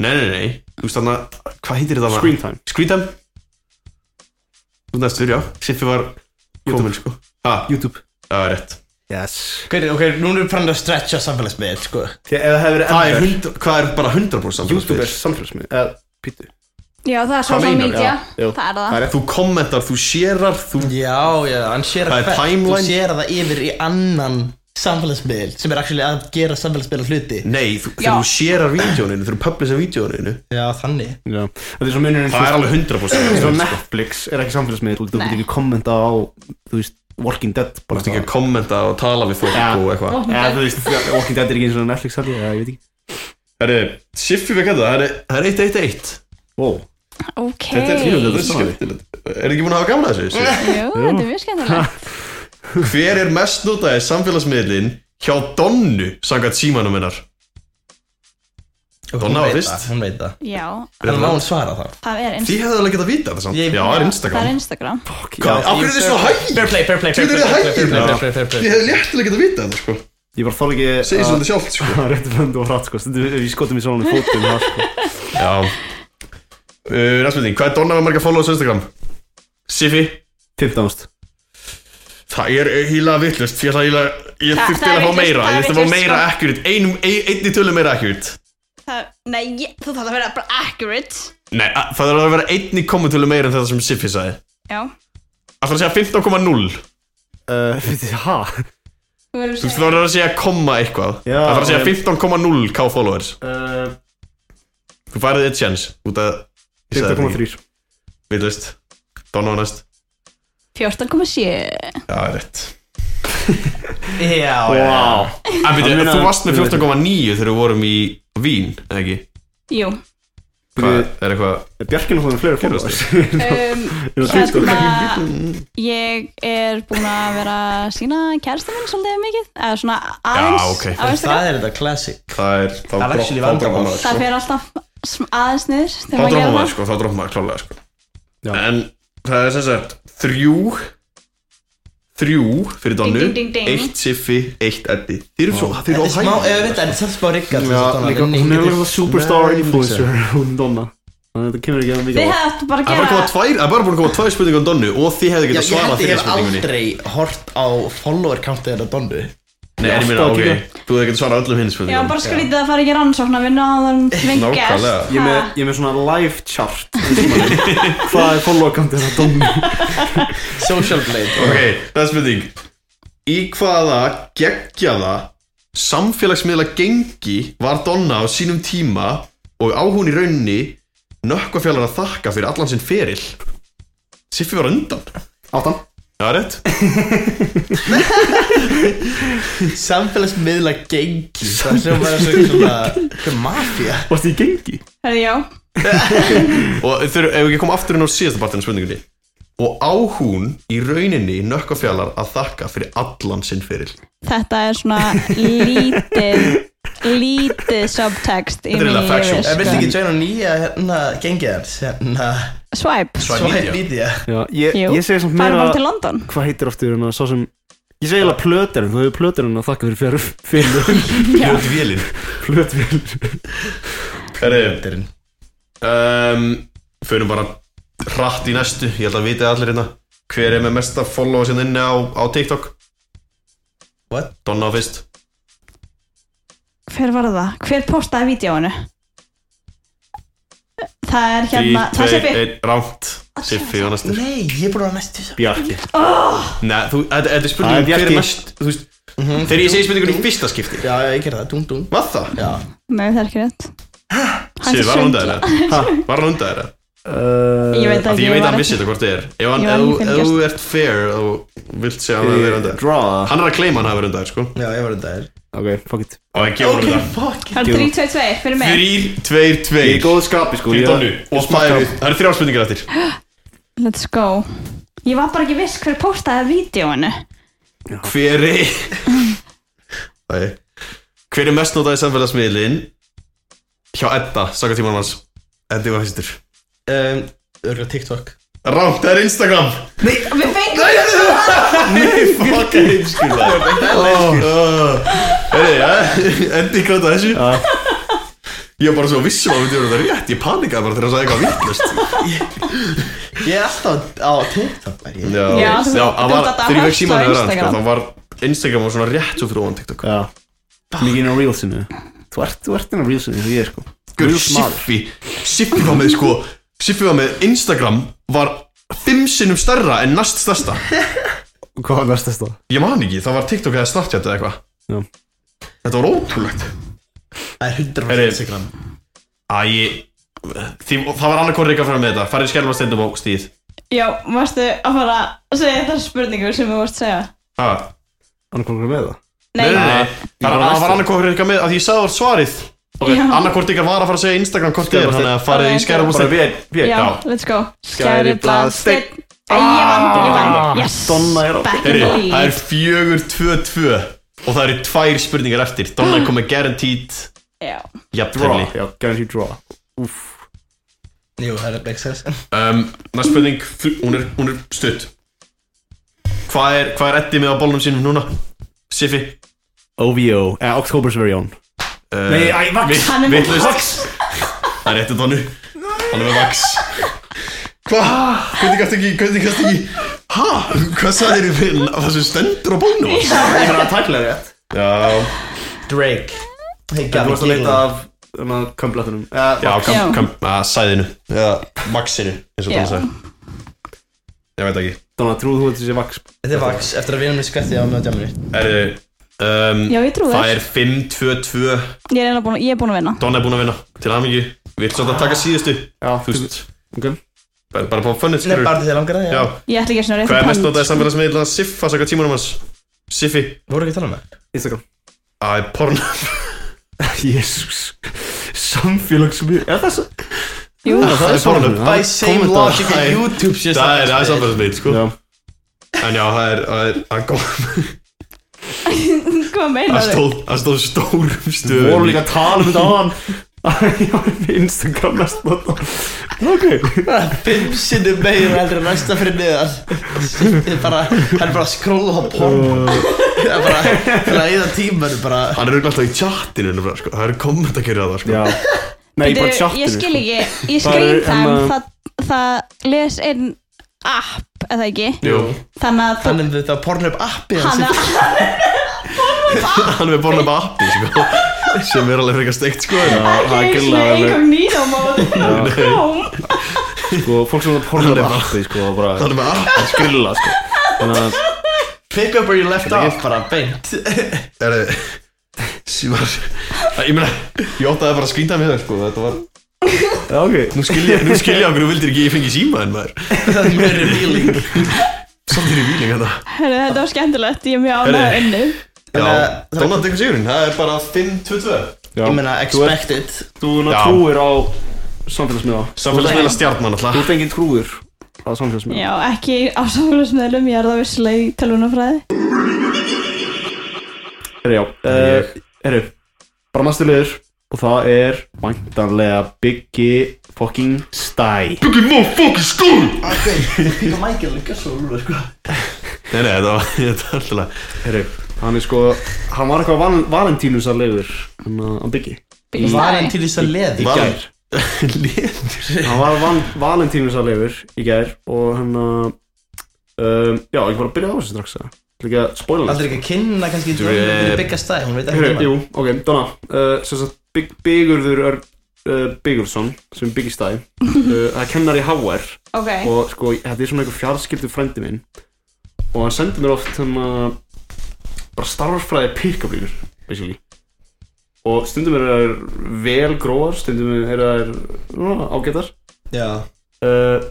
S3: Nei, nei, nei, þú veist þarna, hvað heitir þetta?
S1: Screen time
S3: Screentime Þú næstur, já, Siffi var komin sko Ha,
S1: YouTube
S3: það er rétt
S1: Yes
S2: Ok, ok, nú erum við farin að stretcha samfélagsmiðl, sko
S1: Þegar það hefur verið
S3: Það er,
S1: ever
S3: hund, hvað er bara 100% samfélagsmiðill?
S1: YouTube er samfélagsmið Eða, pítu
S4: Já, það er
S3: meinar
S4: social
S3: þú?
S4: media,
S1: Já, já.
S4: það er það
S3: Það er rétt, Þú kommentar, þú sérar, þú
S2: Já, já, hann sér
S3: Það er
S2: hvert,
S3: timeline.
S2: Þú sér það yfir í annan samfélagsmiðl sem er actually að gera samfélagsmiðla hluti
S3: Nei, þú,
S4: Já.
S3: þegar þú sérar vídjóninu, þegar þú publisar vídjóninu
S2: Já, þannig
S1: Já Þetta er svo munurinn
S3: Það er alveg
S1: Svo
S3: 100% sko.
S1: Netflix er ekki samfélagsmiðl Þú
S4: Nei.
S1: getur ekki kommenta á Þú veist Walking Dead
S3: Þú
S1: bara
S3: veist ekki að kommenta og tala við fólk
S1: Já.
S3: og eitthvað
S1: Eða, þú veist, Walking Dead er ekki eins og Netflix held ég, eða ég veit ekki
S3: Það er, Siffi við kæta, það er- það er 1-1-1
S1: Wow,
S4: Ok,
S3: Þetta er,
S1: Hey.
S3: þetta er skemmtilegt Er ekki búin að hafa gaman að þessu? Sif?
S4: jú, þetta er mjög skemmtilegt
S3: Hver er mest notaði samfélagsmiðlinn hjá Donnu samkvæmt símanum hennar?
S2: Og
S3: Donna
S2: hún
S3: var
S2: veit
S3: fyrst.
S2: það, Hún veit það
S4: Já,
S2: En má hún svara það
S4: það er
S3: Því
S4: Instagram
S3: hefðu alveg getað vitað þetta samt
S2: Ég-
S3: Já, það er Instagram
S4: Það er Instagram
S3: Hvað, af hverju er þið svo hægir?
S2: play, fair play,
S3: Þú veit, þið hægir
S2: fair
S3: það.
S2: play, fair
S3: Ég
S2: play
S3: hefði léttilega getað vitað þetta, sko
S1: Ég bara þarf ekki
S3: Segir
S1: að-
S3: svolítið sjálft, sko
S1: <laughs> að rétti fröndu og hratt sko Stundum við við skotum í svona fótum og allt, sko.
S3: Já uh, Ræsmynding, hvað er Donna með marga followers á Instagram? Siffi
S1: 15.000
S3: Það er híla vittlust Því að það híla Ég
S4: Það-
S3: þurfti
S4: það er
S3: að fá
S4: vitlaust,
S3: meira
S4: það er
S3: Ég þurfti að fá
S4: vitlaust,
S3: meira
S4: sko.
S3: accurate Einum, ein- einni tölu meira accurate
S4: það, Nei, ég, þú þarf að vera bara accurate
S3: Nei, að- það þarf að vera einni komutölu meira en þetta sem Siffi sagði
S4: Já,
S3: Alltaf að segja 15,0
S1: Uh, fyrir, ha?
S4: þú verður
S3: Þú veist, það verður að segja komma eitthvað
S1: Já,
S3: Það þarf að segja
S1: en-
S3: 15,0 k followers
S1: Uh,
S3: Þú færið eitt sjans Út að ég sagði þetta ekki.
S1: 15,3
S3: Vitlaust Donna var næst
S4: 14,7
S3: Já, það er rétt
S2: Já,
S1: Wow
S3: En byrju,
S1: munar-
S3: þú varst með 14,9 þegar við vorum í Vín, eða ekki?
S4: Jú
S3: Hvað, er eitthvað
S1: Bjarkinn hóðum fleira fólkast <laughs>
S4: um, hérna,
S3: <laughs>
S4: Ég er búin að vera að sína kærasta minn svolítið mikið eða svona aðeins
S3: Já, ok.
S4: á Instagram
S2: Það er þetta classic
S3: Það er, þá
S2: Það er actually
S3: dropp- þá droppar
S2: vandamál.
S3: maður
S4: Það
S3: sko.
S4: fer alltaf sm- aðeins niður
S3: Þá
S4: þegar maður
S3: droppar
S4: gerir
S3: maður
S4: það
S3: sko, þá droppar maður klálega sko. En það er sem sagt Þrjú Þrjú fyrir Donnu
S4: Ding, ding, ding, ding.
S3: Eitt Siffi, eitt Eddi Þeir eru svo, þeir
S2: Þetta
S3: eru á
S2: er smá,
S3: hægri.
S2: eða veit, en samt smá riggar
S1: Já, líka, hún er alveg superstar influencer Hún Donna Þannig að þetta kemur ekki að mikið á
S4: Þið
S1: óvart.
S4: hefðu bara
S3: Það er bara að
S4: að
S3: koma
S4: gera
S3: tvær, það er bara búin að koma tvær spurningar um Donnu og þið hefðu
S2: Já,
S3: getað
S2: ég held
S3: svarað
S2: að ég
S3: þeirri
S2: hef
S3: spurningunni
S2: aldrei hort á follower countið þetta Donnu
S3: Nei, en ég meina,
S1: Alltaf að kíkja.
S3: ok, þú hefðu getað svarað öllum hinn
S4: Já,
S3: spurningunum
S4: bara skrítið að fara ekki rannsókn að vinna á þann vingest
S3: Nákvæmlega.
S1: Ég er með, ég er með svona live chart í símanum. Hvað er follow-kantið það Donna?
S2: Social blade
S3: Ok, það er spurning Í hvaða geggjaða samfélagsmiðla gengi var Donna á sínum tíma og á hún í raunni nökkvafjallar að þakka fyrir allan sinn feril Siffi var undan
S1: Áttan
S3: Já, rétt
S2: Samfélagsmiðla gengi Það sem bara svo svona Hvað er mafía?
S1: Varst þið í gengi?
S4: Herði, já
S3: Og þau eru, ef við ekki koma aftur inn á síðasta partinu af spurningunni Og á hún í rauninni nökkvafjallar að þakka fyrir allan sinn feril
S4: Þetta er svona lítið lítið subtext í sko.
S3: Þetta er
S4: mínu
S3: eiginlega factual.
S2: En viltu
S4: lífi
S2: ekki joina nýja hérna gengið hans? Hérna
S4: sko. Swipe
S3: Swipe Media.
S2: Svæt Media
S1: Já, ég,
S4: Jú,
S1: ég segi samt
S4: farum
S1: meira
S4: bara til London
S1: Hvað heitir aftur hérna Sá sem Ég segi eiginlega plöterinn Þú hefur plöterinn að þakka fyrir fyrir fyrir
S4: Já,
S3: Ljóti vélinn
S1: plötvél
S3: Herri,
S2: Þetta
S3: um, Förum bara hratt í næstu Ég held að vitið allir hérna Hver er með mesta followa sinna inni á, á TikTok?
S2: What?
S3: Donna á fyrst
S4: hver var það? Hver postaði vídjóinu? Það er
S3: Í,
S4: hérna, það sé
S3: tveir,
S4: fyrir
S3: einn, Rámt Siffi og næstur
S2: Nei, ég er búin að næstu þessu
S1: Bjarki
S4: Oh!
S3: Nei, þú, þetta þetta er
S1: Það er
S3: spurningum Hver er
S1: Bjarki.
S3: næst Þú veist Þegar ég segi spurningun í fyrsta skipti
S2: Já, já, ég gerði það, dung dung
S3: Var það?
S2: Já
S4: Nei, það er ekki rétt Hann
S3: Siffi,
S4: er
S3: var hann undan
S4: sundla-
S3: þeirra? Var hann undan þeirra?
S4: <laughs> Ég veit
S3: Af
S4: ekki,
S3: Því ég veit að
S4: var
S3: hann
S4: ekki-
S3: vissi þetta hvort þið er Ef hann,
S4: Ég var
S3: ef
S4: ekki
S3: þú- ef
S4: fylgjast.
S3: þú ert fair Þú vilt segja hann að vera undan þér
S1: Uh, Draw
S3: Hann er að kleima hann hafi verið undan þér, sko
S2: Já, ég var undan þér
S1: Ok, fuck it
S3: Og ekki voru
S2: Ok,
S3: undan
S2: fuck
S4: Það er 3, 2, 2, fyrir mig
S3: 3, 2,
S1: Ég
S3: 2
S1: er í góðu skapi sko
S3: Fyrir
S1: ég-
S3: Donnu Og það eru- það eru þrjá spurningar eftir
S4: Let's go Ég var bara ekki viss hver postaði vídjóinu
S3: Hver er Nei. Hver er mest notaði samfélagsmiðlin Hjá Edda, saka tímann hans Eddi var fyrstur
S2: um, Örgulega TikTok
S3: Rámt, það er Instagram
S4: Við fengum
S3: Fuck, ég einskýrða Herri, Eddi gráta þessu
S1: Já.
S3: Ég var bara svo vissum að við djöfum það rétt Ég panikaði bara þegar það sagði eitthvað vittlust
S2: Ég er alltaf á TikTok var ég
S4: Já, þú-
S3: já, það
S4: þú
S3: var
S4: ert að
S3: Þegar ég fekk
S4: höstla
S3: síman að
S4: Instagram.
S3: vera Þá var Instagram var svona rétt svo fyrir ofan TikTok
S1: Já Mikið inn á reelsinu Þú ert, þú ert inn á reelsinu eins og ég er, sko
S3: Gauð,
S1: Reels maður.
S3: Siffi Siffi var með sko Siffi var með Instagram var fimm sinnum stærra en næst stærsta
S1: Hvað var næstast það?
S3: Ég man ekki, það var TikTok eða Snapchat eða eitthvað
S1: Já.
S3: Þetta var ótrúlegt
S2: Það er 100%
S3: Herri.
S2: Instagram
S3: Æ, ég- því, það var annað hvort eitthvað fram með þetta Farið skerfa stendum á stíð
S4: Já, varstu að fara að segja þessar spurningu sem við vorst að segja
S3: ha,
S1: Annað hvað er með það?
S3: Nei, nei,
S4: Nei,
S3: nei Það var, það var annað hvort eitthvað með að því ég sagði það var svarið
S4: Já.
S3: Annað hvort eitthvað var að fara að segja Instagram hvort þið er Þannig að farið í
S4: Ok.
S3: skerfa
S1: Bara við, við
S4: já,
S3: já.
S4: let's go
S1: Skæri blaðsteinn.
S4: Æ, Ég vann, ég
S1: Ah,
S4: vann Yes,
S1: Donna er á-
S4: back in
S3: Heri,
S4: the
S3: það er
S4: lead
S3: fjögur, tvö, tvö Og það eru tvær spurningar eftir Donna kom með guaranteed
S4: já,
S3: Jafntefli
S1: já, guaranteed draw Úf,
S2: Jú, það er Brexit
S3: um, Næst spurning, þr- hún er, hún er stutt Hvað er, hvað er Eddi með á bólnum sínum núna? Siffi
S1: OVO, eh, October's very own
S3: uh,
S1: Nei, æ, vax.
S4: Hann er með
S3: vax Það er rétt að tónu Hann er með vax Hva? Hvernig gæst ekki, hvernig gæst ekki Hæ? Hvað sagðir þér fyrir það sem stendur á bólnum? hans?
S1: Ég meina að tækla þér rétt
S3: Já,
S2: Drake Hey,
S1: Þú
S2: Gabby
S1: varst að leita
S2: Gilmore.
S1: af um, kömblatunum eh,
S3: já,
S1: vax.
S3: kam,
S4: Já.
S3: kam, að sæðinu Já, vaxinu eins og
S4: Já.
S3: það sagði Ég veit ekki
S1: Donna, trúðu þú að þessi vax
S2: Þetta er Vax Eftir að vinum við skvetti á með djáminu
S3: Erðu um,
S4: já ég trúi
S3: Það
S4: þess
S3: er 5-2-2
S4: ég er, eiginlega búin, að- ég er búin að vinna
S3: Donna er búin að vinna Til hamingju Við ætlum svolítið að taka síðustu
S1: Já,
S3: Þú veist
S1: ok.
S3: Bara, bara bá funnið
S2: Nei,
S3: skilur
S2: bara því að langar það,
S3: Já
S2: já
S4: ég ætla ekki svona
S3: Hvað er mest notaði samfélagsmiðla Siffa saka tímanum hans Siffi
S2: Voru ekki að tala um það?
S1: Instagram
S3: Æ,
S2: <laughs>
S3: porn
S1: Jésús Samfélagsmið Er það svo?
S4: Jú.
S1: Já, það er
S3: Pornhub.
S1: samfélagsmiðl,
S2: By
S1: já.
S2: same
S1: Kommenta.
S3: Æ,
S2: logic að YouTube sé
S3: Það er, það er samfélagsmiðl,
S2: samfélagsmiðill.
S3: sko
S1: Já.
S3: En já, það er, það er Það kom
S2: <laughs>
S4: <laughs> hvað meina
S3: Það
S4: þau
S3: stóð, það stóð stórum
S1: Við
S3: stöðum
S1: vorum líka að tala um þetta aðan Já, við Instagram mest notað Ok
S2: Fimm sinni megin heldur en næsta fyrir niðan Þetta er bara, hann er bara að skróla á porn Það er bara, það er að eða tíman bara
S3: Hann er auðvitað alltaf í chatinu nefnilega, sko. Það er komment að gera það sko.
S1: Já Nei, bara
S4: Bíddu,
S1: tjáttinu
S4: ég skil ekki í
S1: Það er,
S4: Screen Time
S1: Emma-
S4: það, það les inn app eða ekki
S3: Jú,
S4: þannig að
S2: Hann er þetta Pornhub appi
S4: hann
S2: hans
S4: er
S3: hann er borna bara appi
S1: <laughs>
S3: sko. sem er alveg frekar steikt sko. en-
S1: Já, það er gillega alveg
S4: inkognito mód
S1: <laughs>
S4: Chrome.
S1: Sko, fólk sem það pornar
S3: Hann er
S1: bara
S3: bara-
S1: aftur, sko bara
S3: Hann er bara appi
S1: að skrilla, sko Þannig að
S2: Pick up where you left off bara beint <laughs>
S3: Er þið Sýmar Ég meina, ég óttaði bara að skrýnda með það sko. Þetta var
S1: Já, ok
S3: Nú skilja, nú skilja okkur, þú vildir ekki að ég fengi síma en maður
S2: Það er mjög revealing
S3: Samt er í víling þetta
S4: Herru, þetta var skemmtilegt ég er mjög ánægð að
S3: Herru.
S4: unnu
S3: Já,
S2: Þannig að-
S3: Donald tekur sigurinn, það er bara 5-2-2
S1: Já.
S2: Ég meina expected
S1: Þú er
S3: Já.
S1: trúir á samfélagsmiða
S3: Samfélagsmiðla stjarnan
S1: Þú
S3: alltaf
S1: ert engin trúir á samfélagsmiða
S4: já ekki á samfélagsmiðlum ég er það visslega í tölvunafræði
S1: Herru, já eh, Herru, bara maður stilir Og það er væntanlega Biggi fucking Stæ
S3: Fucking motherfucking school
S2: Píka Michael líka svo úr sko
S3: Nei, nei, þetta var, <laughs> þetta var alltaf
S1: Herru, hann er sko Hann var eitthvað val valentínusarlegur Hann að hann Biggi
S2: Var hann til þess að leði?
S1: Í
S3: Val-
S1: gær
S3: Létur
S1: Hann var van valentínusarlegur í gær Og hann að um, Já, ég bara byrjaði á þessu strax að Líka spoiler
S2: Aldrei ekki að kynna kannski
S3: Drip.
S2: Djóðum fyrir byggja stæð Hún veit ekki um
S1: Heyrðu, Jú, ok, Donna uh, Sem sagt, Big- Bigurður Örn uh, Bigursson sem byggir stæði uh, það er kennari HR
S4: ok
S1: og sko, þetta er svona einhver fjarskildu frændi minn og hann sendi mér oft hann bara starfarsfræði pikkablíkur basically og stundum eru þær vel gróðar stundum eru þær uh, ágætar
S2: Já
S1: uh,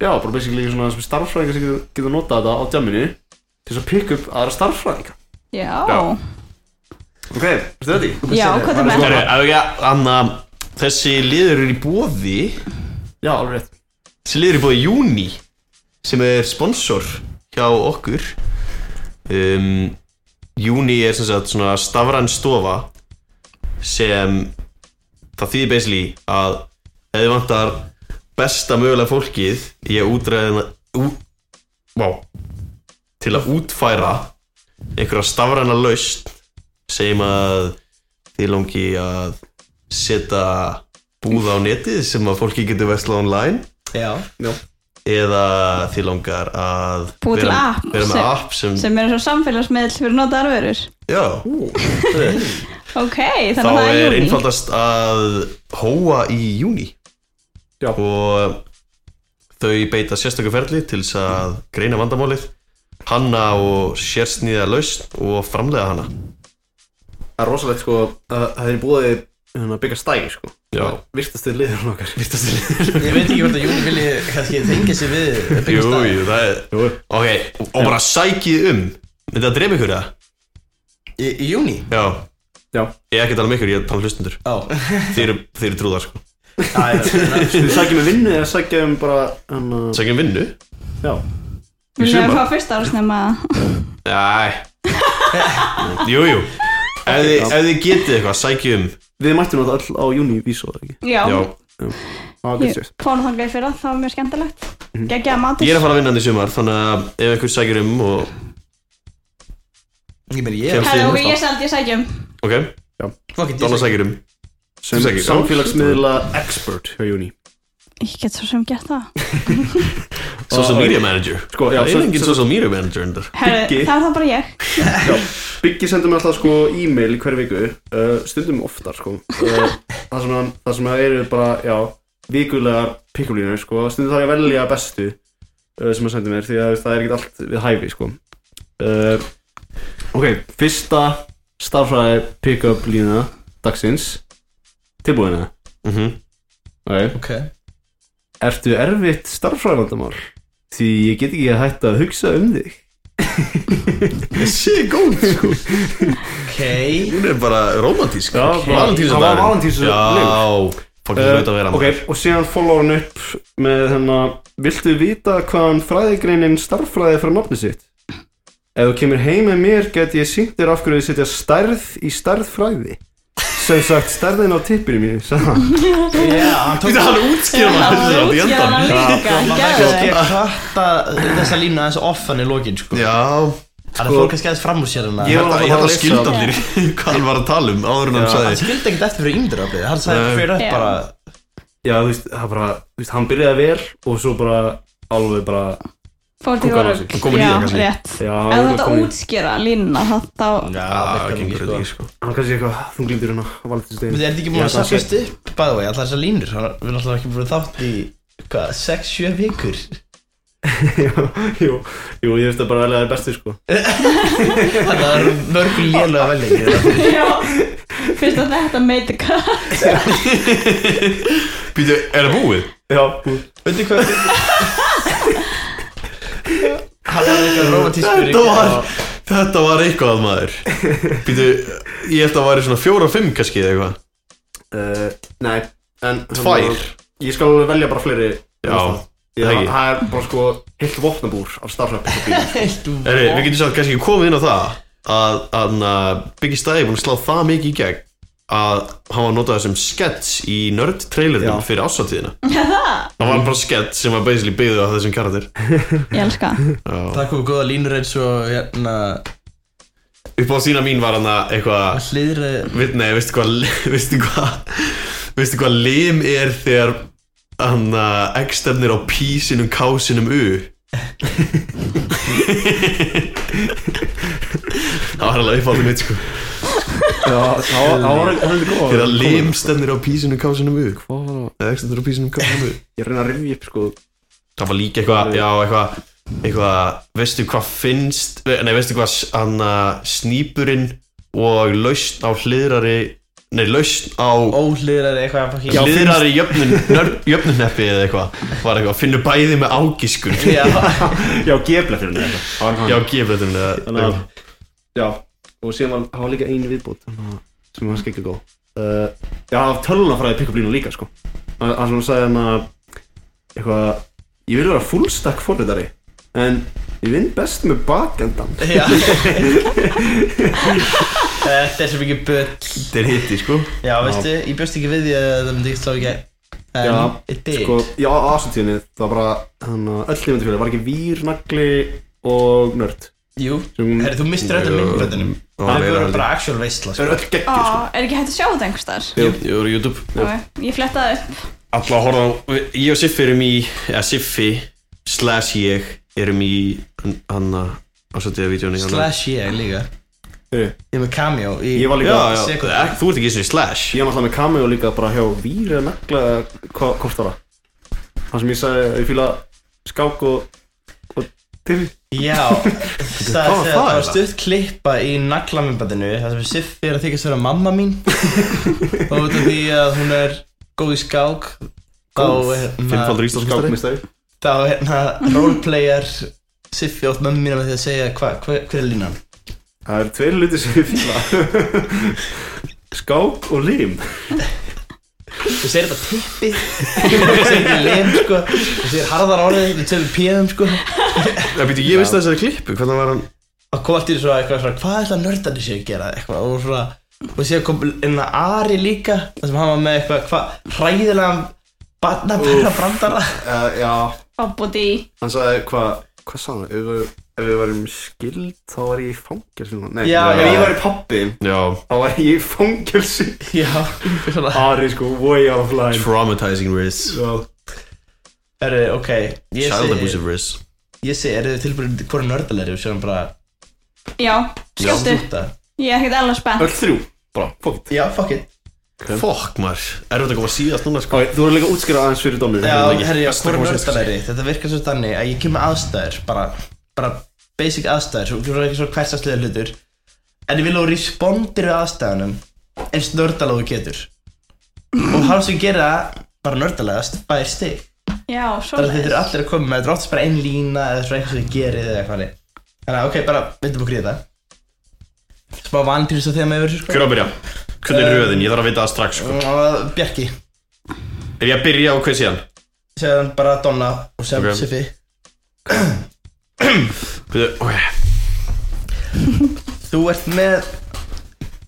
S1: já, bara basically svona sem starfarsfræðingar sem getur, getur notað þetta á djaminu til þess að pikka upp aðra starfarsfræðinga
S4: já
S1: ok, veistu þetta í?
S4: já hvað er með
S3: Herru, ef ekki að Anna, þessi liður er í bóði
S1: já, alveg rétt
S3: Þessi liður er í bóði Júni sem er sponsor hjá okkur um, Júni er sem sagt svona stafran stofa sem það þýðir basically að ef þið vantar besta mögulega fólkið í að útræðina ú, vá, til að útfæra einhverja stafrana laust segjum að þið langi að setja búð á netið sem að fólki getur vesla online
S2: Já
S3: eða þið langar að
S4: Búa til
S3: vera,
S4: app
S3: vera með
S4: sem-
S3: app sem,
S4: sem er svo samfélagsmiðl fyrir notaðar vörur
S3: já,
S4: ok þannig
S3: þá
S4: að það
S3: er
S4: er júni
S3: einfaldast að hóa í júni
S1: Já.
S3: og þau beita sérstöku ferli til þess að greina vandamálið hanna og sérsnýða lausn og framlega hana
S1: það er rosalegt sko að það er búið að byggja stæði sko
S3: já,
S1: virtast þið liður okkar virtast þið
S2: Ég veit ekki hvort að Júli vilji kannski tengja sig við
S3: jú,
S2: byggja stæð
S3: jú, það er
S1: liður
S3: ok, og bara sækið um myndi það drepa ykkur það?
S2: Í í júni
S3: já,
S1: Já.
S3: ég er ekki að tala um ykkur, ég er að tala um hlustundur
S2: Ó
S3: þeir eru, þeir eru trúðar sko
S1: þið sækjum um vinnu eða sækjum um bara hann að
S3: sækið um vinnu?
S1: já
S4: við
S3: sumar.
S4: erum að fá fyrst ára snemma
S3: <laughs> Æ Jú, jú Ef þið, ef þið getið eitthvað, sækjum
S1: Við mættum þetta all á Univísu, eða ekki?
S4: Já,
S3: Já,
S5: Það
S4: Ég- fórum þangað í fyrra, það var mjög skemmtilegt Gekkjaða matur
S3: ég er að fara að vinna hann í sumar Þannig að ef einhver sækir um og
S2: Ég meina ég
S3: Kemst-
S4: Herra, ok,
S3: Síðan.
S4: ég sælt, ég um. sækjum
S3: Ok,
S2: Fuck it,
S3: Donna
S2: ég
S3: sækir um
S1: Sem
S3: Þú sagði ekki, já.
S1: samfélagsmiðla expert hjá Uni
S4: Ég get svo sem gert það
S3: Social media manager
S1: Sko, já,
S3: Það
S1: svo-
S3: er engin
S1: svo-
S3: social media manager undar
S4: Herra,
S1: Biggi.
S4: það er það bara ég
S1: Biggi sendur mér alltaf sko e-mail í hverju viku uh, stundum oftar sko uh, það sem hann- það sem það eru bara já, vikulegar pikkulínur sko stundum þarf ég að velja bestu uh, sem hann sendur mér því að þú veist, það er ekkert allt við hæfi sko uh, ok, fyrsta starfræði pick-up lína dagsins tilbúinu
S3: mm -hmm.
S1: ok,
S2: Ok
S1: ertu erfitt starfræðvandamál því ég get ekki að hætta að hugsa um þig
S3: Þessi er góð sko
S2: Ok
S3: Hún er bara romantísk
S1: Já, bara- Það
S3: Valentínusdagurinn.
S1: var Valentínusdagurinn.
S3: Já, fokk ég veit að vera
S1: Uh,
S3: maður.
S1: ok, og síðan follow hann upp með hennar Viltu vita hvaðan fræðigreinin starffræði frá nafni sitt? Ef þú kemur heim með mér get ég sýnt þér af hverju þið setja stærð í stærðfræði sem sagt stærðin á tippinu mínu sagði hann.
S2: Já, hann tók
S3: Þetta er hann útskýra maður þessi þátt í
S4: útskýra
S3: endan
S4: líka
S2: Maður er
S4: geðveikt.
S2: kannski að katta þessa línu aðeins offan í lokin sko
S3: Já, sko-
S2: Þannig að fólk kannski aðeins fram úr sér hana
S1: Ég
S3: ég
S1: var náttúrulega
S3: held að, ég
S1: bara
S3: held að
S1: að
S3: skilda
S1: lesa.
S3: allir <laughs> hvað hann var að tala um áður en hann
S2: Hann
S3: sagði
S2: skildi ekkert eftir fyrir ímyndarafið Hann sagði
S3: Nei.
S2: fyrir upp
S4: Já.
S2: bara
S1: Já, þú veist, það bara, þú veist, hann byrjaði vel og svo bara alveg bara
S4: Fór til
S1: Kúka á
S4: voru
S1: sig.
S3: Komin í
S4: Já,
S3: það kannski.
S4: rétt
S1: Já,
S4: Ef þú
S1: hann
S4: ert að
S1: komið-
S4: útskýra línuna þá- þá
S2: Já,
S3: Já,
S2: virkar
S3: gengur
S2: mikið
S3: þetta
S2: sko
S3: ekki sko
S1: Hann kannski eitthvað þunglindur hérna á
S2: Við
S1: Valentínusdegi <laughs>
S2: erum ekki búin
S1: Ég held
S2: að
S1: að
S2: safnast upp By the way, allar þessar línur Við erum alltaf ekki búin að þátt í Hvað, 6-7 vikur
S1: Jú, jú, ég veist að bara velja það bestu sko
S2: Þannig að það eru mörg lélega velja
S4: Já, fyrst að þetta meiti hvað
S3: Býtu, er það búið?
S1: Já, bú-
S2: Veitu hvað Hann var eitthvað romantískur
S3: Þetta var, þetta var eitthvað maður Býtu, ég held að það væri svona fjóra og fimm kannski eða eitthvað
S1: uh, Nei, en
S3: Tvær
S1: Ég skal alveg velja bara fleiri
S3: Já,
S1: Já,
S3: Ekki?
S1: það er bara sko heilt vopnabúr af starfræði pick-up
S3: Heri, við getum satt kannski komið inn á það að, að, að Biggie Stæði búin að slá það mikið í gegn að hann var að nota það sem skets í nörd trailernum
S1: Já.
S3: fyrir ásatíðina Það var bara skets sem var basically byggðið á þessum karatir
S4: Ég elska það.
S3: Já.
S2: Það komu góða línur eins og hérna
S3: Upp á sína mín var hann að eitthvað
S2: Hliðri
S3: Vi- Nei, veistu hvað <laughs> Veistu hvað Veistu hvað lim er þegar hann að x stefnir á p sinum k sinum <laughs> u Það var alveg uppáldum mitt sko
S1: Já, það var ekki góð
S3: Þegar lim stefnir á p sinum k sinum u Eða x stefnir á p sinum k sinum u
S1: Ég reyna að rifja upp sko
S3: Það var líka eitthvað Já, eitthvað Eitthvað Veistu hvað finnst Nei, veistu hvað s- hann að snýpurinn og lausn á hliðrari Nei, lausn á
S2: Óhliðri eitthvað fucking-
S3: Já, hliðrari jöfnun, nörd- jöfnunhneppi eða eitthvað var eitthvað, finnur bæði með ágiskun
S2: Já,
S1: Já, gefla fyrir henni þetta
S3: já, gefrættunni eða
S1: Þannig að
S3: eitthvað.
S1: Já, og síðan var það var líka ein viðbót þannig að- sem var skikki góð uh, Já, það var tölunafræði pick-up línu líka sko Það það sem hún sagði hann að eitthvað Ég vil vera fullstack forritari en ég vinn best með bakendan
S2: já Þetta er svo mikið bull
S3: þetta er hitti sko
S2: Já, veistu, ég bjóst ekki við því að það myndi ekki slá ekki En,
S1: Já,
S2: it did
S1: sko, já, ásatíðinni það var bara, hann að öll lifendafélag var ekki vír, nagli og nörd
S2: Jú,
S1: sem
S2: herri, þú mistur þetta myndbröndunum
S3: Það var
S2: Það
S3: meira
S2: er
S3: heldur.
S2: bara actual veistla
S1: Það
S2: sko.
S1: eru öll geggjur
S4: Á,
S1: sko
S4: Er ekki hægt að sjá þetta einhvers þar?
S3: Jú, ég voru á YouTube
S4: Ég flettaði upp
S3: alla horfa á, ég og Siffi erum í eða Siffi slash ég erum í hann að ásættiða vídjónu
S2: Slash ég líka
S5: Ah.
S1: Heyrðu.
S2: Ég er með cameo í
S1: Ég var
S3: já,
S1: líka,
S3: já,
S2: Sekúndu.
S3: ek- þú ert ekki eins og slash
S1: ég var náttúrulega með cameo líka bara hjá vír eða nagla eða hva- hvort það var Það sem ég sagði, að ég fýla skák og, og tifi
S2: Já,
S3: <laughs> var það
S2: það var, það var
S3: eiginlega?
S2: stutt klippa í naglamyndbandinu Það sem Siffi er að þykast vera mamma
S3: <laughs>
S2: mín Og út af því að hún er góð í skák Góð,
S3: fimmfaldur íslenskustari
S1: Skákmistari
S2: Þá hérna roleplayar Siffi átt mömmu mína með því að segja hva, hva, hver er línan
S1: Það eru tveir luti sem ég fýla <laughs> Skák og lim
S2: Þú segir þetta <laughs> tippi Þú segir ekki lem sko Þú segir harðar orðið, þú segir pjöðum sko
S3: ég veit, ég veist þessari klippu, hvernig var hann
S2: Það kom allt í þessu eitthvað svona Hvað ætla nördarnir sér að gera eitthvað Og svona og síðan kom inn að Ari líka þar sem hann var með eitthvað hva, hræðilegan barnaperra brandara
S1: Eh,
S3: uh, Já,
S4: Bobbody
S3: hann sagði hvað
S5: Hvað sá hann? Ef, við- ef við varum skild þá var ég í fangelsi núna. Nei,
S2: Já,
S5: ef
S2: já.
S5: ég var í pappi
S3: Já,
S5: þá var ég í fangelsi
S2: <laughs> já, svona
S5: Ari sko, way out of line
S3: traumatizing risk
S5: Já,
S2: Eru, ok, ég
S3: Child
S2: sé,
S3: abusive risk
S2: ég sé, eru þið tilbúin til hvora nördalegri og sjáum bara
S4: Já, skjóttu
S2: stúta
S4: Ég er ekkert alveg spennt
S5: öll þrjú Bara, fuck it
S2: Já, fuck it
S3: Fuck maður, erfitt að koma síðast núna sko
S5: Ok, þú voru líka að útskýra aðeins fyrir hérna, dómur
S2: Já, herri, já,
S3: Besta
S2: hvora
S3: kosið, sko.
S2: nördalegri, þetta virkar svo þannig að ég kem með aðstæður, bara, bara basic aðstæður, svo þú verður ekki svo hversaslega hlutur En ég vil að þú respondir við aðstæðunum eins nördalega þú getur Og hann sem gera það, bara nördalegast, fær stig
S4: Já,
S2: Þannig að þeir eru
S4: svoleiðis
S2: allir að koma með, þetta er oftast bara einn lína eða svona eitthvað sem þið gerið eða eitthvað þannig. Þannig að ok, bara myndum okkur í þetta Smá vanpýrst á þeim yfir þessu sko
S3: Hver á að byrja? Hvernig er
S2: Eh,
S3: röðin? Ég þarf að vita það strax sko
S2: Og Bjarki,
S3: Er ég að byrja á hvað síðan?
S2: segðan bara Donna og sem
S3: Ok.
S2: okay. Siffi
S3: Byrju, ok
S2: Þú ert með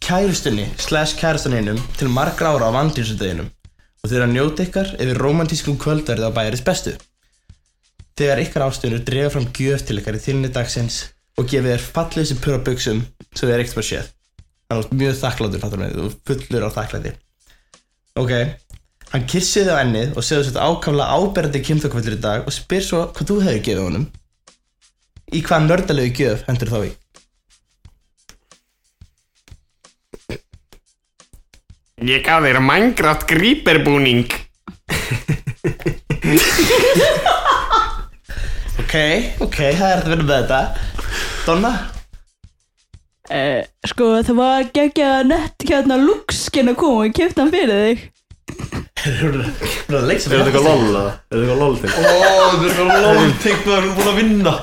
S2: kærustunni, slash kærustunninum til margra ára á vandýrsudeginum og þau eru að njóta ykkar yfir romantískum kvöldverði á bæjarins bestu. Þegar ykkar ástunur drefa fram gjöf til ykkar í þilni dagsins og gefið þér fallið sem pura buksum sem þið er ekkert bara séð. Þannig að þú ert mjög þakkláttur, fattur með þú ert fullur á þakklæti. Ok, hann kyssir þig á ennið og segður þetta ákaflega áberandi kynþakvöldur í dag og spyr svo hvað þú hefur gefið honum. Í hvað nördalegu gjöf hendur þá í?
S6: Ég gaf þér Minecraft gríperbúning.
S2: Ok, ok, það er að vinna með þetta Donna?
S4: Eh, Sko, það var geggja nett hérna lúkskin að koma og kipta hann fyrir þig
S2: Hún er að leiksa
S5: Er þetta eitthvað lol? eða? Er þetta eitthvað lol til?
S2: Ó, þú er eitthvað lóð Tegnaður, hún er búin að vinna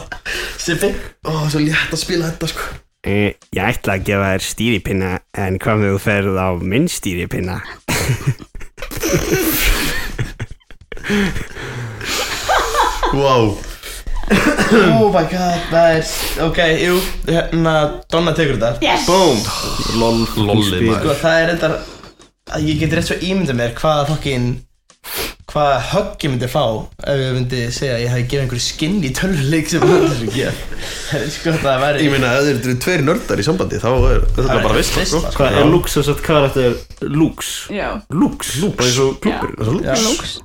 S2: Sippi? Ó, svo létt að spila þetta sko
S6: Uh, ég ætla að gefa þér stýripinna, en hvað með þú ferð á minn stýripinna?
S3: Wow
S2: Oh my god, það er Ok, jú, hérna, Donna tekur þetta
S4: Yes!
S2: Boom
S5: Lol
S3: Lolli maður
S2: Sko, það er reyndar að Ég get rétt svo ímyndað mér hvað fokkin Hvað högg ég myndi fá Ef ég myndi segja að ég hefði gefið einhverju skinn í tölvuleik sem hann þessu gef <laughs> Sko, það væri
S3: Ég meina, ef þeir eru tveir nördar í sambandi þá er þetta
S2: Það
S3: er bara veist sko.
S2: veisla, sko.
S5: Hvað er Lux þess að karakter? Lux
S4: Já,
S5: Lux? Lux? Bara eins og klúkur
S2: Já.
S4: lúks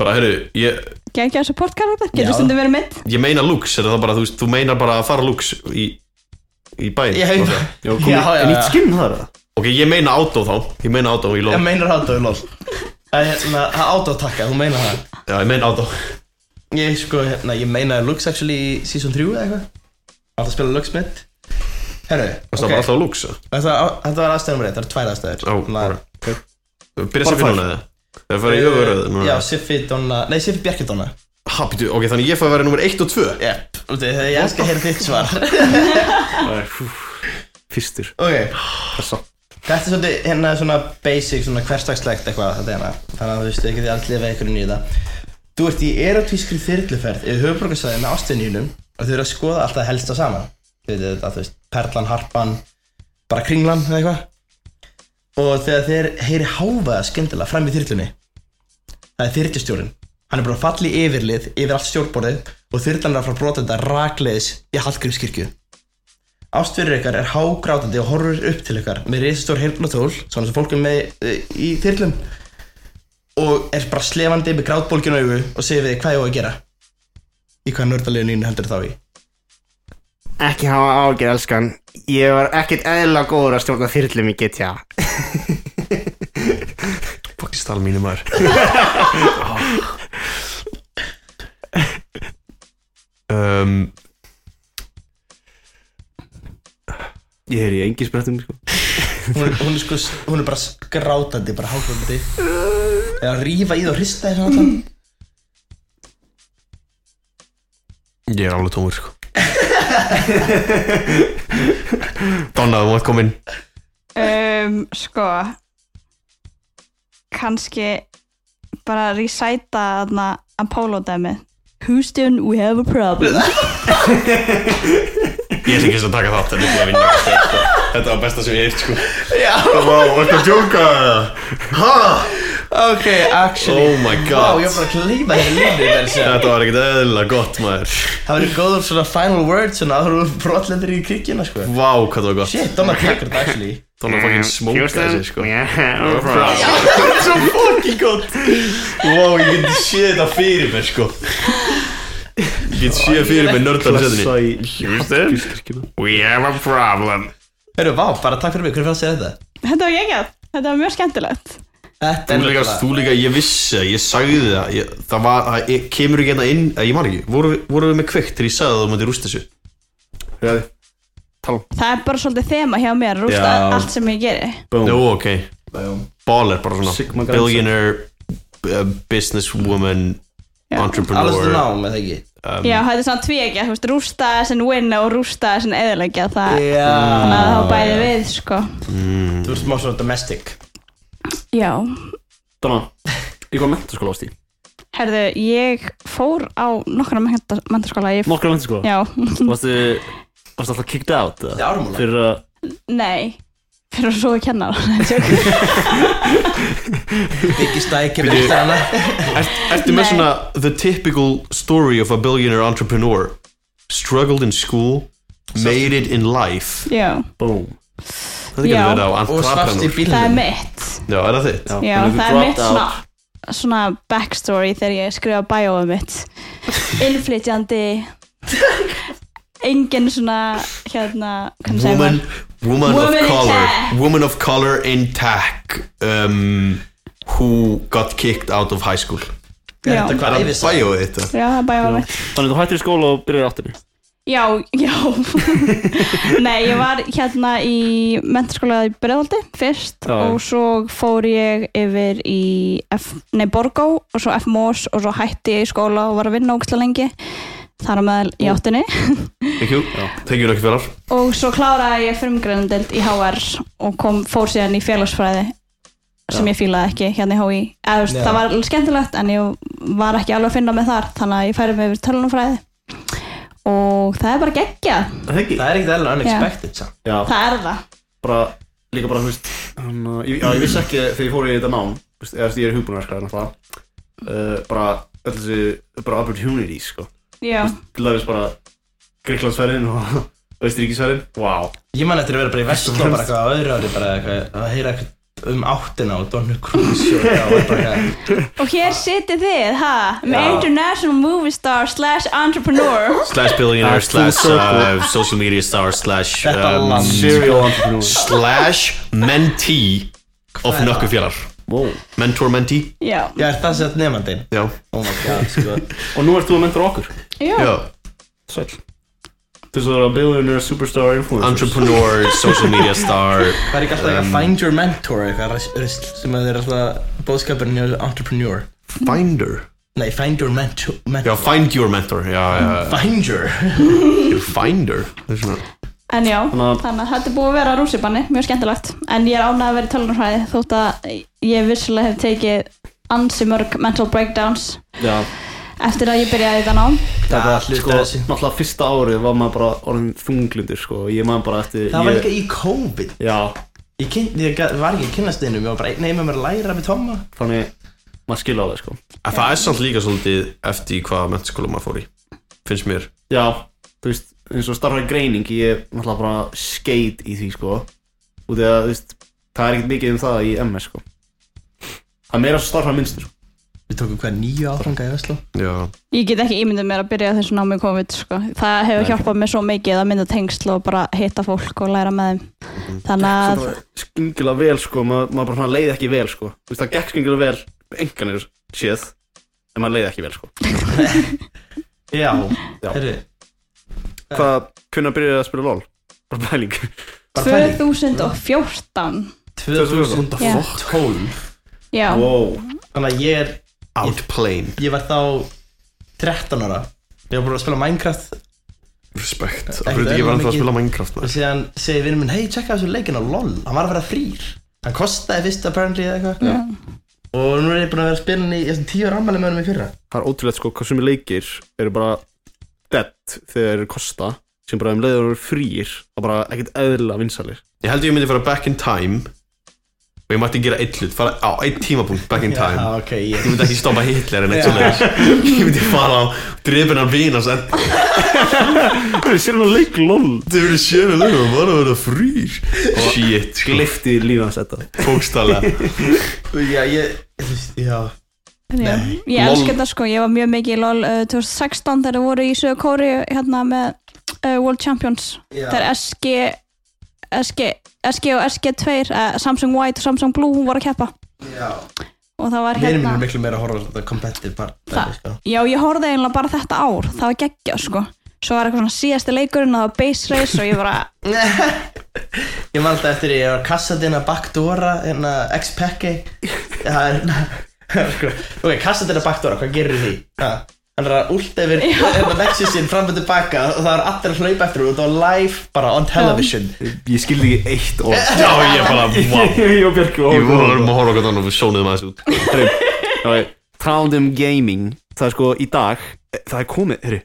S3: Bara, heyrðu, ég,
S4: Geggja supportkarakter,
S2: Já.
S4: getur stundum verið mitt
S3: ég meina lux er það bara, þú veist, þú meinar bara að fara lux í, í bæinn
S2: Ég hef
S3: Ok.
S5: Já,
S2: Já,
S5: komið
S2: já,
S5: En
S2: já.
S5: nýtt skinn það er það?
S3: ok, ég meina átó þá Ég meina átó í lol
S2: Ég meinar það í lol Það er hérna, það átt að taka, þú meinar það
S3: Já, ég meina átó
S2: Ég sko, hérna, ég meinaði Lux actually í season 3 eða eitthvað Alltaf að spila Lux mitt Herru,
S3: Það er bara alltaf lux Já,
S2: þetta, var- þetta var aðstæðum rétt, það eru tvær aðstæður Þannig að-
S3: ok Byrja
S5: Bara Eh,
S3: sér fyrir núna eða? Það fyrir í höfuröðu
S2: Já, Siffi Donna, nei Siffi Bjarki Donna
S3: Hapitu, ok, þannig ég fæ að vera nummer 1 og 2
S2: Jep, úti, þegar ég elska að heyra þitt svar
S5: Æ, fú. Fyrstur
S2: Ok,
S5: Pressa
S2: þetta er svolítið hérna svona basic, svona hverstagslegt eitthvað þetta hérna Þannig að þú veist, þið getið allir lifað einhverju nýða Þú ert í erotískri þyrluferð yfir höfuborgarsæðin með ástæðinjunum og þau eru að skoða alltaf helsta saman Þau veitir þetta, þú veist, perlan, harpan, bara kringlan eða eitthvað Og þegar þeir heyri háfaða skyndilega fram í þyrlunni Það er þyrlustjórinn Hann er bara að falla í yfirlið yfir allt stjórnborðið og þyrlan er að fara að brota þetta rakleiðis í Hallgrímskirkju Ástfyrir ykkar er hágrátandi og horfur upp til ykkar með risastór heyrnatól, svona sem fólk er með eh, í þyrlum og er bara slefandi með grátbólginu augu og segir við þig hvað ég á að gera í hvað nördalegu nínu heldur þá í
S6: Ekki hafa ágjör, elskan. Ég var ekkert eðla góður að stjórna þyrlum í GTA.
S3: Fuck, stál mínu
S5: <laughs>
S3: maður <laughs> um,
S5: Ég er í engi sprettum sko.
S2: hún, er- hún, er sko, hún er bara skrátandi, bara hágrátandi eða rífa í það og hrista þér svona alltaf
S3: Ég er alveg tómur sko Donna, þú mátt koma inn
S4: Um, sko kannski bara recita þarna Apollo-dæmi Houston, we
S2: <laughs>
S4: have a problem
S3: Ég ætla ekki að taka þátt en ég er að vinna sko. Þetta var besta sem ég heilt sko Já Vá, ertu að djóka Ha?
S2: Ok, actually
S3: Oh my god.
S2: Vá, ég var bara að klíma þér línu þar <laughs> sem
S3: Þetta var ekkert eðlilega gott maður
S2: Það verður góður svona final words svona áður úr brotlendur í krikina sko
S3: Vá, hvað það var gott
S2: Shit, Dómar tekur þetta actually
S3: Það var
S6: Eh,
S3: fucking smókað sér sko
S6: sko
S3: Það er svo fucking gott Vá, ég geti séð þetta fyrir mér sko Ég geti séð fyrir mér nördan setni
S6: Houston, we have a problem
S2: Hörru, vá, bara takk fyrir mig, hvernig fannst þér þetta?
S4: Þetta var geggjað, þetta var mjög skemmtilegt
S2: Þetta
S3: Þú
S2: er
S3: líka, þú líka, ég vissi það, ég sagði það ég, Það var, það ég- kemur ekki hérna inn eh, Ég man ekki, voru, voru við með kveikt Þegar ég sagði það að þú mætti rústa þessu
S4: Það er bara svolítið þema hjá mér að rústa
S3: Já.
S4: allt sem ég geri
S3: Nú, ok Baller, bara svona Billionaire, uh, businesswoman
S4: Já.
S2: Alveg stu
S3: Entrepreneur
S2: nám, eða ekki?
S4: Já, þetta er svona tvíegja, þú veist, rústa þessin vinna og rústa þessin eðilegja það
S2: Já
S4: Þannig að það var bæði við, sko
S2: Þú ert smá svona domestic
S4: Já,
S1: Dana, ég var mentaskóla ást í
S4: herðu, ég fór á nokkra mentaskóla ég...
S1: Nokkra mentaskóla
S4: Já, <laughs>
S1: Varstu, varstu alltaf kicked out eða?
S2: Þetta er áramóla
S1: Fyrir að
S4: nei Fyrir að svo að <laughs> kenna
S2: Biggi stækir eftir hana
S3: Ertu með
S4: Nei.
S3: svona The typical story of a billionaire entrepreneur Struggled in school Made it in life
S4: Já,
S1: Boom
S3: Þetta
S4: Já.
S3: getur verið á
S2: Og svart í
S3: entrepreneur
S4: það er
S2: bílnum
S4: mitt
S3: Já, er það þitt?
S1: þannig
S4: Já,
S1: að þú
S4: það er mitt
S1: dropped
S4: svona, svona backstory þegar ég skrifa bæóið mitt
S1: <laughs>
S4: Innflytjandi Engin svona hérna, hvernig segir
S3: Woman, woman, of
S4: maður Woman in
S3: color
S4: tech.
S3: Woman of color in tech um, Who got kicked out of high school
S4: Já,
S2: Þetta
S3: Er
S2: hvað
S3: það
S2: æfis
S3: bæjóið þetta?
S4: já, það er bæóið mitt
S1: Þannig að þú hættir í skóla og byrjar í áttinu
S4: Já, já <laughs> Nei, ég var hérna í mentaskóla í Breðaldi fyrst
S1: Já.
S4: og svo fór ég yfir í F, nei, Borgó og svo FMOS og svo hætti ég í skóla og var að vinna ógstlega lengi þar á meðal í áttinni
S3: Thank you, thank you nokkuð fyrir
S4: og svo kláraði ég frumgreinandeld í HR og kom, fór síðan í félagsfræði sem ég fílaði ekki hérna í HÍ Eða, þú veist,
S2: Já.
S4: það var alveg skemmtilegt en ég var ekki alveg að finna með þar þannig að ég færi mig yfir tölunumfræði og það er bara geggja
S2: Það er ekkert alveg unexpected samt
S1: Já,
S4: það er það
S1: bara Líka bara, þú veist hana, ég, Já, ég vissi ekki þegar ég fór í þetta nám þú veist, Eða þú veist, ég er hugbúinverkar náttúrulega uh, Bara, öll þessi Bara opportunities, sko
S4: Já.
S1: Til dæmis bara Gríklandsferðin og <laughs> Austuríkisferðin Vá wow.
S2: Ég man eftir að vera bara í vestló bara eitthvað á öðru ári bara eitthvað að heyra eitthvað um áttina og Donner Cruz og það var bara eitthvað
S4: og hér sitið þið, ha með international movie star slash entrepreneur
S3: Slash billionaire,
S1: full
S3: slash uh, social media star Slash
S2: Þetta
S3: um,
S2: land.
S1: Serial entrepreneur
S3: Slash mentee Of nokkuð fjallar
S1: Wow
S3: Mentor mentee
S4: Já.
S2: Já, er það sett nefnandinn?
S3: Já,
S2: Oh my god, sko
S1: Og nú ert þú að mentora okkur
S4: Já.
S3: já
S1: Sæl Þú svo er að billionaire superstar influencer
S3: Entrepreneur, social media star
S2: Það er ekki alltaf eitthvað find your mentor eitthvað ris- risl sem að þeir er alltaf bóðskapurinn hjá entrepreneur
S3: Finder
S2: Nei, find your mentor,
S3: Já,
S2: mentor.
S3: find your mentor Já, já,
S2: Find your
S3: your finder Það er svona
S4: en já,
S1: Þannig að-
S4: þannig að þetta er búið að vera rússipanni, mjög skemmtilegt en ég er ánægð að vera í tölunumfræði þótt að ég vissulega hef tekið ansi mörg mental breakdowns
S1: Já
S4: eftir að ég byrjaði þetta nám
S2: Það
S1: Þetta
S2: var hluti
S1: sko
S2: af þessu.
S1: Náttúrulega fyrsta árið var maður bara orðin þunglindur sko Ég maður bara eftir
S2: Það var
S1: ég,
S2: líka í COVID
S1: Já
S2: Ég, kyn, ég gat- var ekki að kynnast einum, ég var bara einn heima með mér að læra með Tomma
S1: Þannig maður skilja á það sko
S3: En það er samt líka svolítið eftir í hvaða mentaskóla maður fór í Finnst mér
S1: Já Þú veist eins og starfæri greining Ég er náttúrulega bara skeit í því sko Út eða þú veist Það er ekkert mikið um það í MS sko Það er meira starfæri minnstur sko.
S2: Við tókum hvað nýju áfranga í Vestló
S3: Já
S4: ég get ekki ímyndið mér að byrja þessu námi COVID sko. það hefur hjálpað mér svo mikið að mynda tengsl og bara hitta fólk og læra með þeim
S1: Mhm.
S4: þannig að
S1: Skingilega vel sko Maður, maður bara svona leiði ekki vel sko Þú veist það gekk skingilega vel Enganir séð En maður leiði ekki vel sko
S2: Já,
S1: Já.
S2: herru,
S1: Hvað, hvernig byrjaði að spila LOL? Bara pæling
S4: 2014
S2: 2012
S4: já,
S1: Wow
S2: Þannig að ég er
S3: Outplane
S2: ég var þá 13 ára ég var bara að spila Minecraft
S3: Respekt
S2: Ekkert
S3: Það verður ekki
S2: eðlilega
S3: verið að
S2: mikið.
S3: spila Minecraft
S2: og
S3: maður.
S2: síðan segi vinnum minn hei, checka þessu leikin á LOL hann var að vera frýr hann kostaði fyrst apparently eða eitthvað og nú er ég búin að vera að spila hann í ég er svona 10 ára ammæli með honum í fyrra
S1: Það er ótrúlegt sko hvað sumi leikir eru bara dead þegar þeir kosta sem bara um leiður eru frýir og bara ekkert eðlilega vinsalir
S3: Ég held ég myndi fara back in time og ég mætti gera eitt hlut, fara á eitt tímapunkt back in time
S2: Já, ok, ég
S3: Ég myndi ekki stoppa Hitler en eitt svona Ég myndi fara á drefinan vina sem
S1: Það er sérna leik lol
S3: Þau eru sjöna lögum, bara að vera frýr Shit, sko,
S1: Gleifti lífa hans þetta
S3: fókstallega
S2: <laughs> Já, ég, þú veist, já
S4: Já,
S2: Nei.
S4: ég
S3: Lol.
S4: elska þetta sko, ég var mjög mikið í LOL uh, 2016 þegar þau voru í Söðu Kóri hérna með uh, World Champions
S2: Já.
S4: þegar SG, SG, SG og SG2 uh, Samsung White og Samsung Blue voru að keppa
S2: Já
S4: og það var
S2: Mér
S4: hérna
S2: er miklu meira að horfa á þetta competitive part
S4: Það-
S2: sko. <laughs>
S4: Já, ég horfði eiginlega bara þetta ár, það var geggja sko Svo var eitthvað svona síðasti leikurinn og það var base race og ég bara,
S2: Ég man alltaf eftir því, ég var kassadina Backdora, hérna, X-Packi Það er, hérna, <laughs> sko Ok, kassadina Backdora, hvað gerir því? Ha, Hann er að últ yfir hérna Nexusin fram og tilbaka og það er allir að hlaupa eftir og það var live bara on television
S1: Ég skildi ekki eitt orð
S3: Já, ég bara, wow
S1: Ég og Björk
S3: Ég vorum að horfa okkur þannig og við sjónuðum aðeins út
S1: <laughs> Talandi um gaming Það er sko í dag eh, Það er komið, herri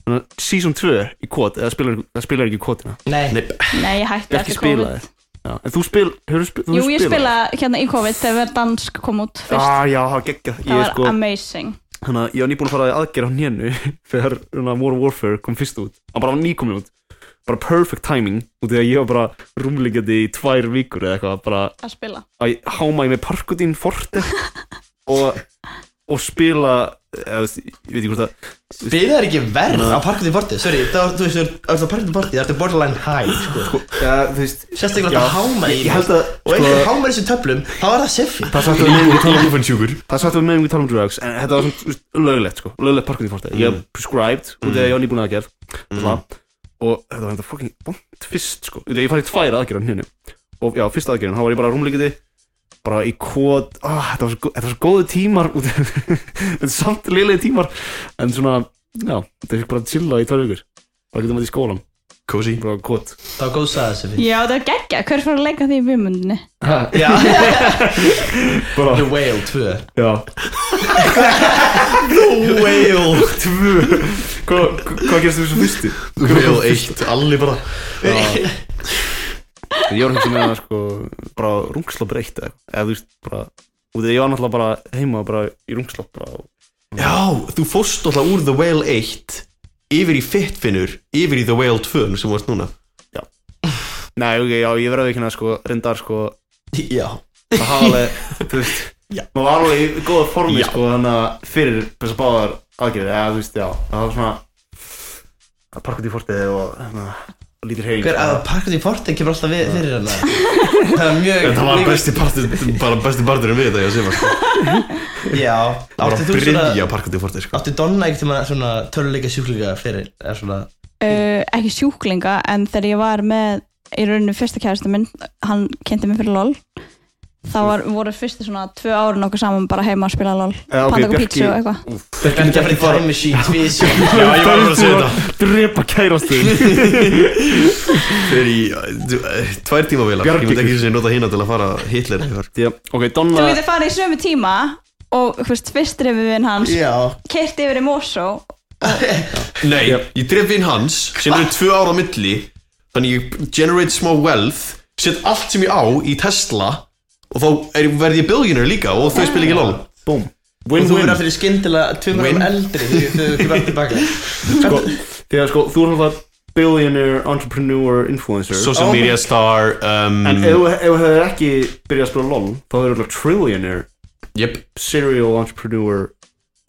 S1: þannig að Season 2 í kvot eða spilar, það spilar ekki í kvotina
S2: Nei,
S3: Nei,
S4: nei, ég hætti
S1: Björk
S4: eftir
S1: spilaði Já, en þú spil, hefur þú spilað?
S4: Jú, ég spilaði hérna í COVID þegar dansk kom út fyrst
S1: ah, Já, það geggjað
S4: Það
S1: Ég
S4: var
S1: sko,
S4: amazing
S1: Þannig að ég var nýbúin að fara í aðgerð á nénu <laughs> þegar hana, World Warfare kom fyrst út hann bara var nýkomin út bara perfect timing út í að ég var bara rúmlingjandi í tvær vikur eða eitthvað bara
S4: að spila
S1: að ég háma ég með parkutín forte og, og spila eða, þú veist, ég veit ekki hvort það
S2: byrðið er ekki verð á parkandi bortið Sorry, það var, þú veist, þú ert- þú ert á parkandi bortið, það ertu borderline high, sko
S1: ja, þú veist
S2: Sérstaklega þetta hámar í
S1: ég, ég held að
S2: Og
S1: sko,
S2: einhver hámar í þessum töflum, þá var það Siffi
S1: það satt að með
S3: ég tala um fann sjúkur
S1: það satt að með mig tala um drugs en þetta var svona þú veist, löglegt sko löglegt parkutín forte ég var prescribed út í að ég var nýbúin aðgerð og svona. og þetta var þetta fucking bont fyrst sko út í að ég farið tvær aðgerð á hennu og já fyrsta aðgerðin þá var ég bara rúmlíkiti bara í kvot ah, þetta, var svo, gó- þetta var svo góðu tímar út í- <laughs> en samt liðlega tímar en svona já þetta er bara að chilla í tvær vikur bara getum að í skólan
S3: Cozy
S1: bara kvot
S2: Þá góðsaði Siffi
S4: Já, það er geggja, hver fór að leika því í vimmundinni?
S2: Já
S1: Bara-
S2: The Whale 2
S1: já
S3: Whale
S1: tvö hvað hva gerst þú svo fyrstu
S3: Whale 1, allir bara
S1: ég var hérna með það sko bara rungslopp reitt eða eitthvað. eða þú veist bara út af ég var náttúrulega bara heima bara í rungslopp bara og
S3: Já, þú fórst alltaf úr The Whale 1 yfir í Fitfinur yfir í The Whale 2 sem varst núna
S1: Nei, ok, já, ég verði ekki hérna sko, reyndar sko,
S2: Já
S1: að hafa alveg, þú veist,
S2: Já.
S1: maður var alveg í góða formi
S3: Já.
S1: sko, þannig að fyrir þess að báðar aðgerðir, eða þú veist, já, það var svona að parka út í fortið og sko. hérna, lítir heil.
S2: Hver að parkast í portin kemur alltaf við, fyrir hann Það er mjög
S3: Þetta var besti partur, bara besti parturinn við þetta ég að segja sko.
S2: Já
S3: Það var
S2: Áttu
S3: að
S2: þú
S3: bryðja
S2: svona
S3: að parka til fortið sko.
S2: Áttu Donna ekkert um að svona töluleika sjúklinga fyrir Er svona
S4: Uh, ekki sjúklinga, en þegar ég var með í rauninu fyrsta kæristu minn hann kynnti mig fyrir LOL þá var, voru fyrstu svona tvö árin okkur saman bara heima að spila LOL
S1: Já, Eh, ok,
S4: panta okkur
S1: Bjarki-
S4: pítsu og eitthvað
S2: Þetta er ekki að fara í time machine
S3: <laughs>
S2: Tvið
S3: Já,
S2: sjúklinga
S3: ég var bara að segja þetta
S1: Drepa kærastuðin.
S6: <laughs>
S3: Fyrir í eh, tvær tíma vila Ég
S1: Bjargi.
S3: myndi ekki sem ég nota hína til að fara Hitler eða eitthvað.
S1: Já, ok, Donna,
S4: Þú getur farið í sömu tíma og þú veist, fyrstrefin hans yeah.
S2: Já
S4: kert yfir í Mosó
S3: Nei, ég dref inn hans sem eru tvö ára á milli þannig ég generate smá wealth set allt sem ég á í Tesla og þá er, verð ég billionaire líka og þau spil ekki lol
S1: boom,
S2: Og þú
S1: win-win.
S2: verður aftur í skyndilega Tvið
S3: Win.
S2: mörgum eldri þegar Þegar þú verður tilbaka
S1: Sko, því að sko, þú er alltaf billionaire, entrepreneur, influencer.
S3: Social media star um,
S1: Ah. En ef ef þú hefur ekki byrjað að spila LOL, þá hefur þú alltaf trillionaire,
S3: Jep,
S1: serial entrepreneur,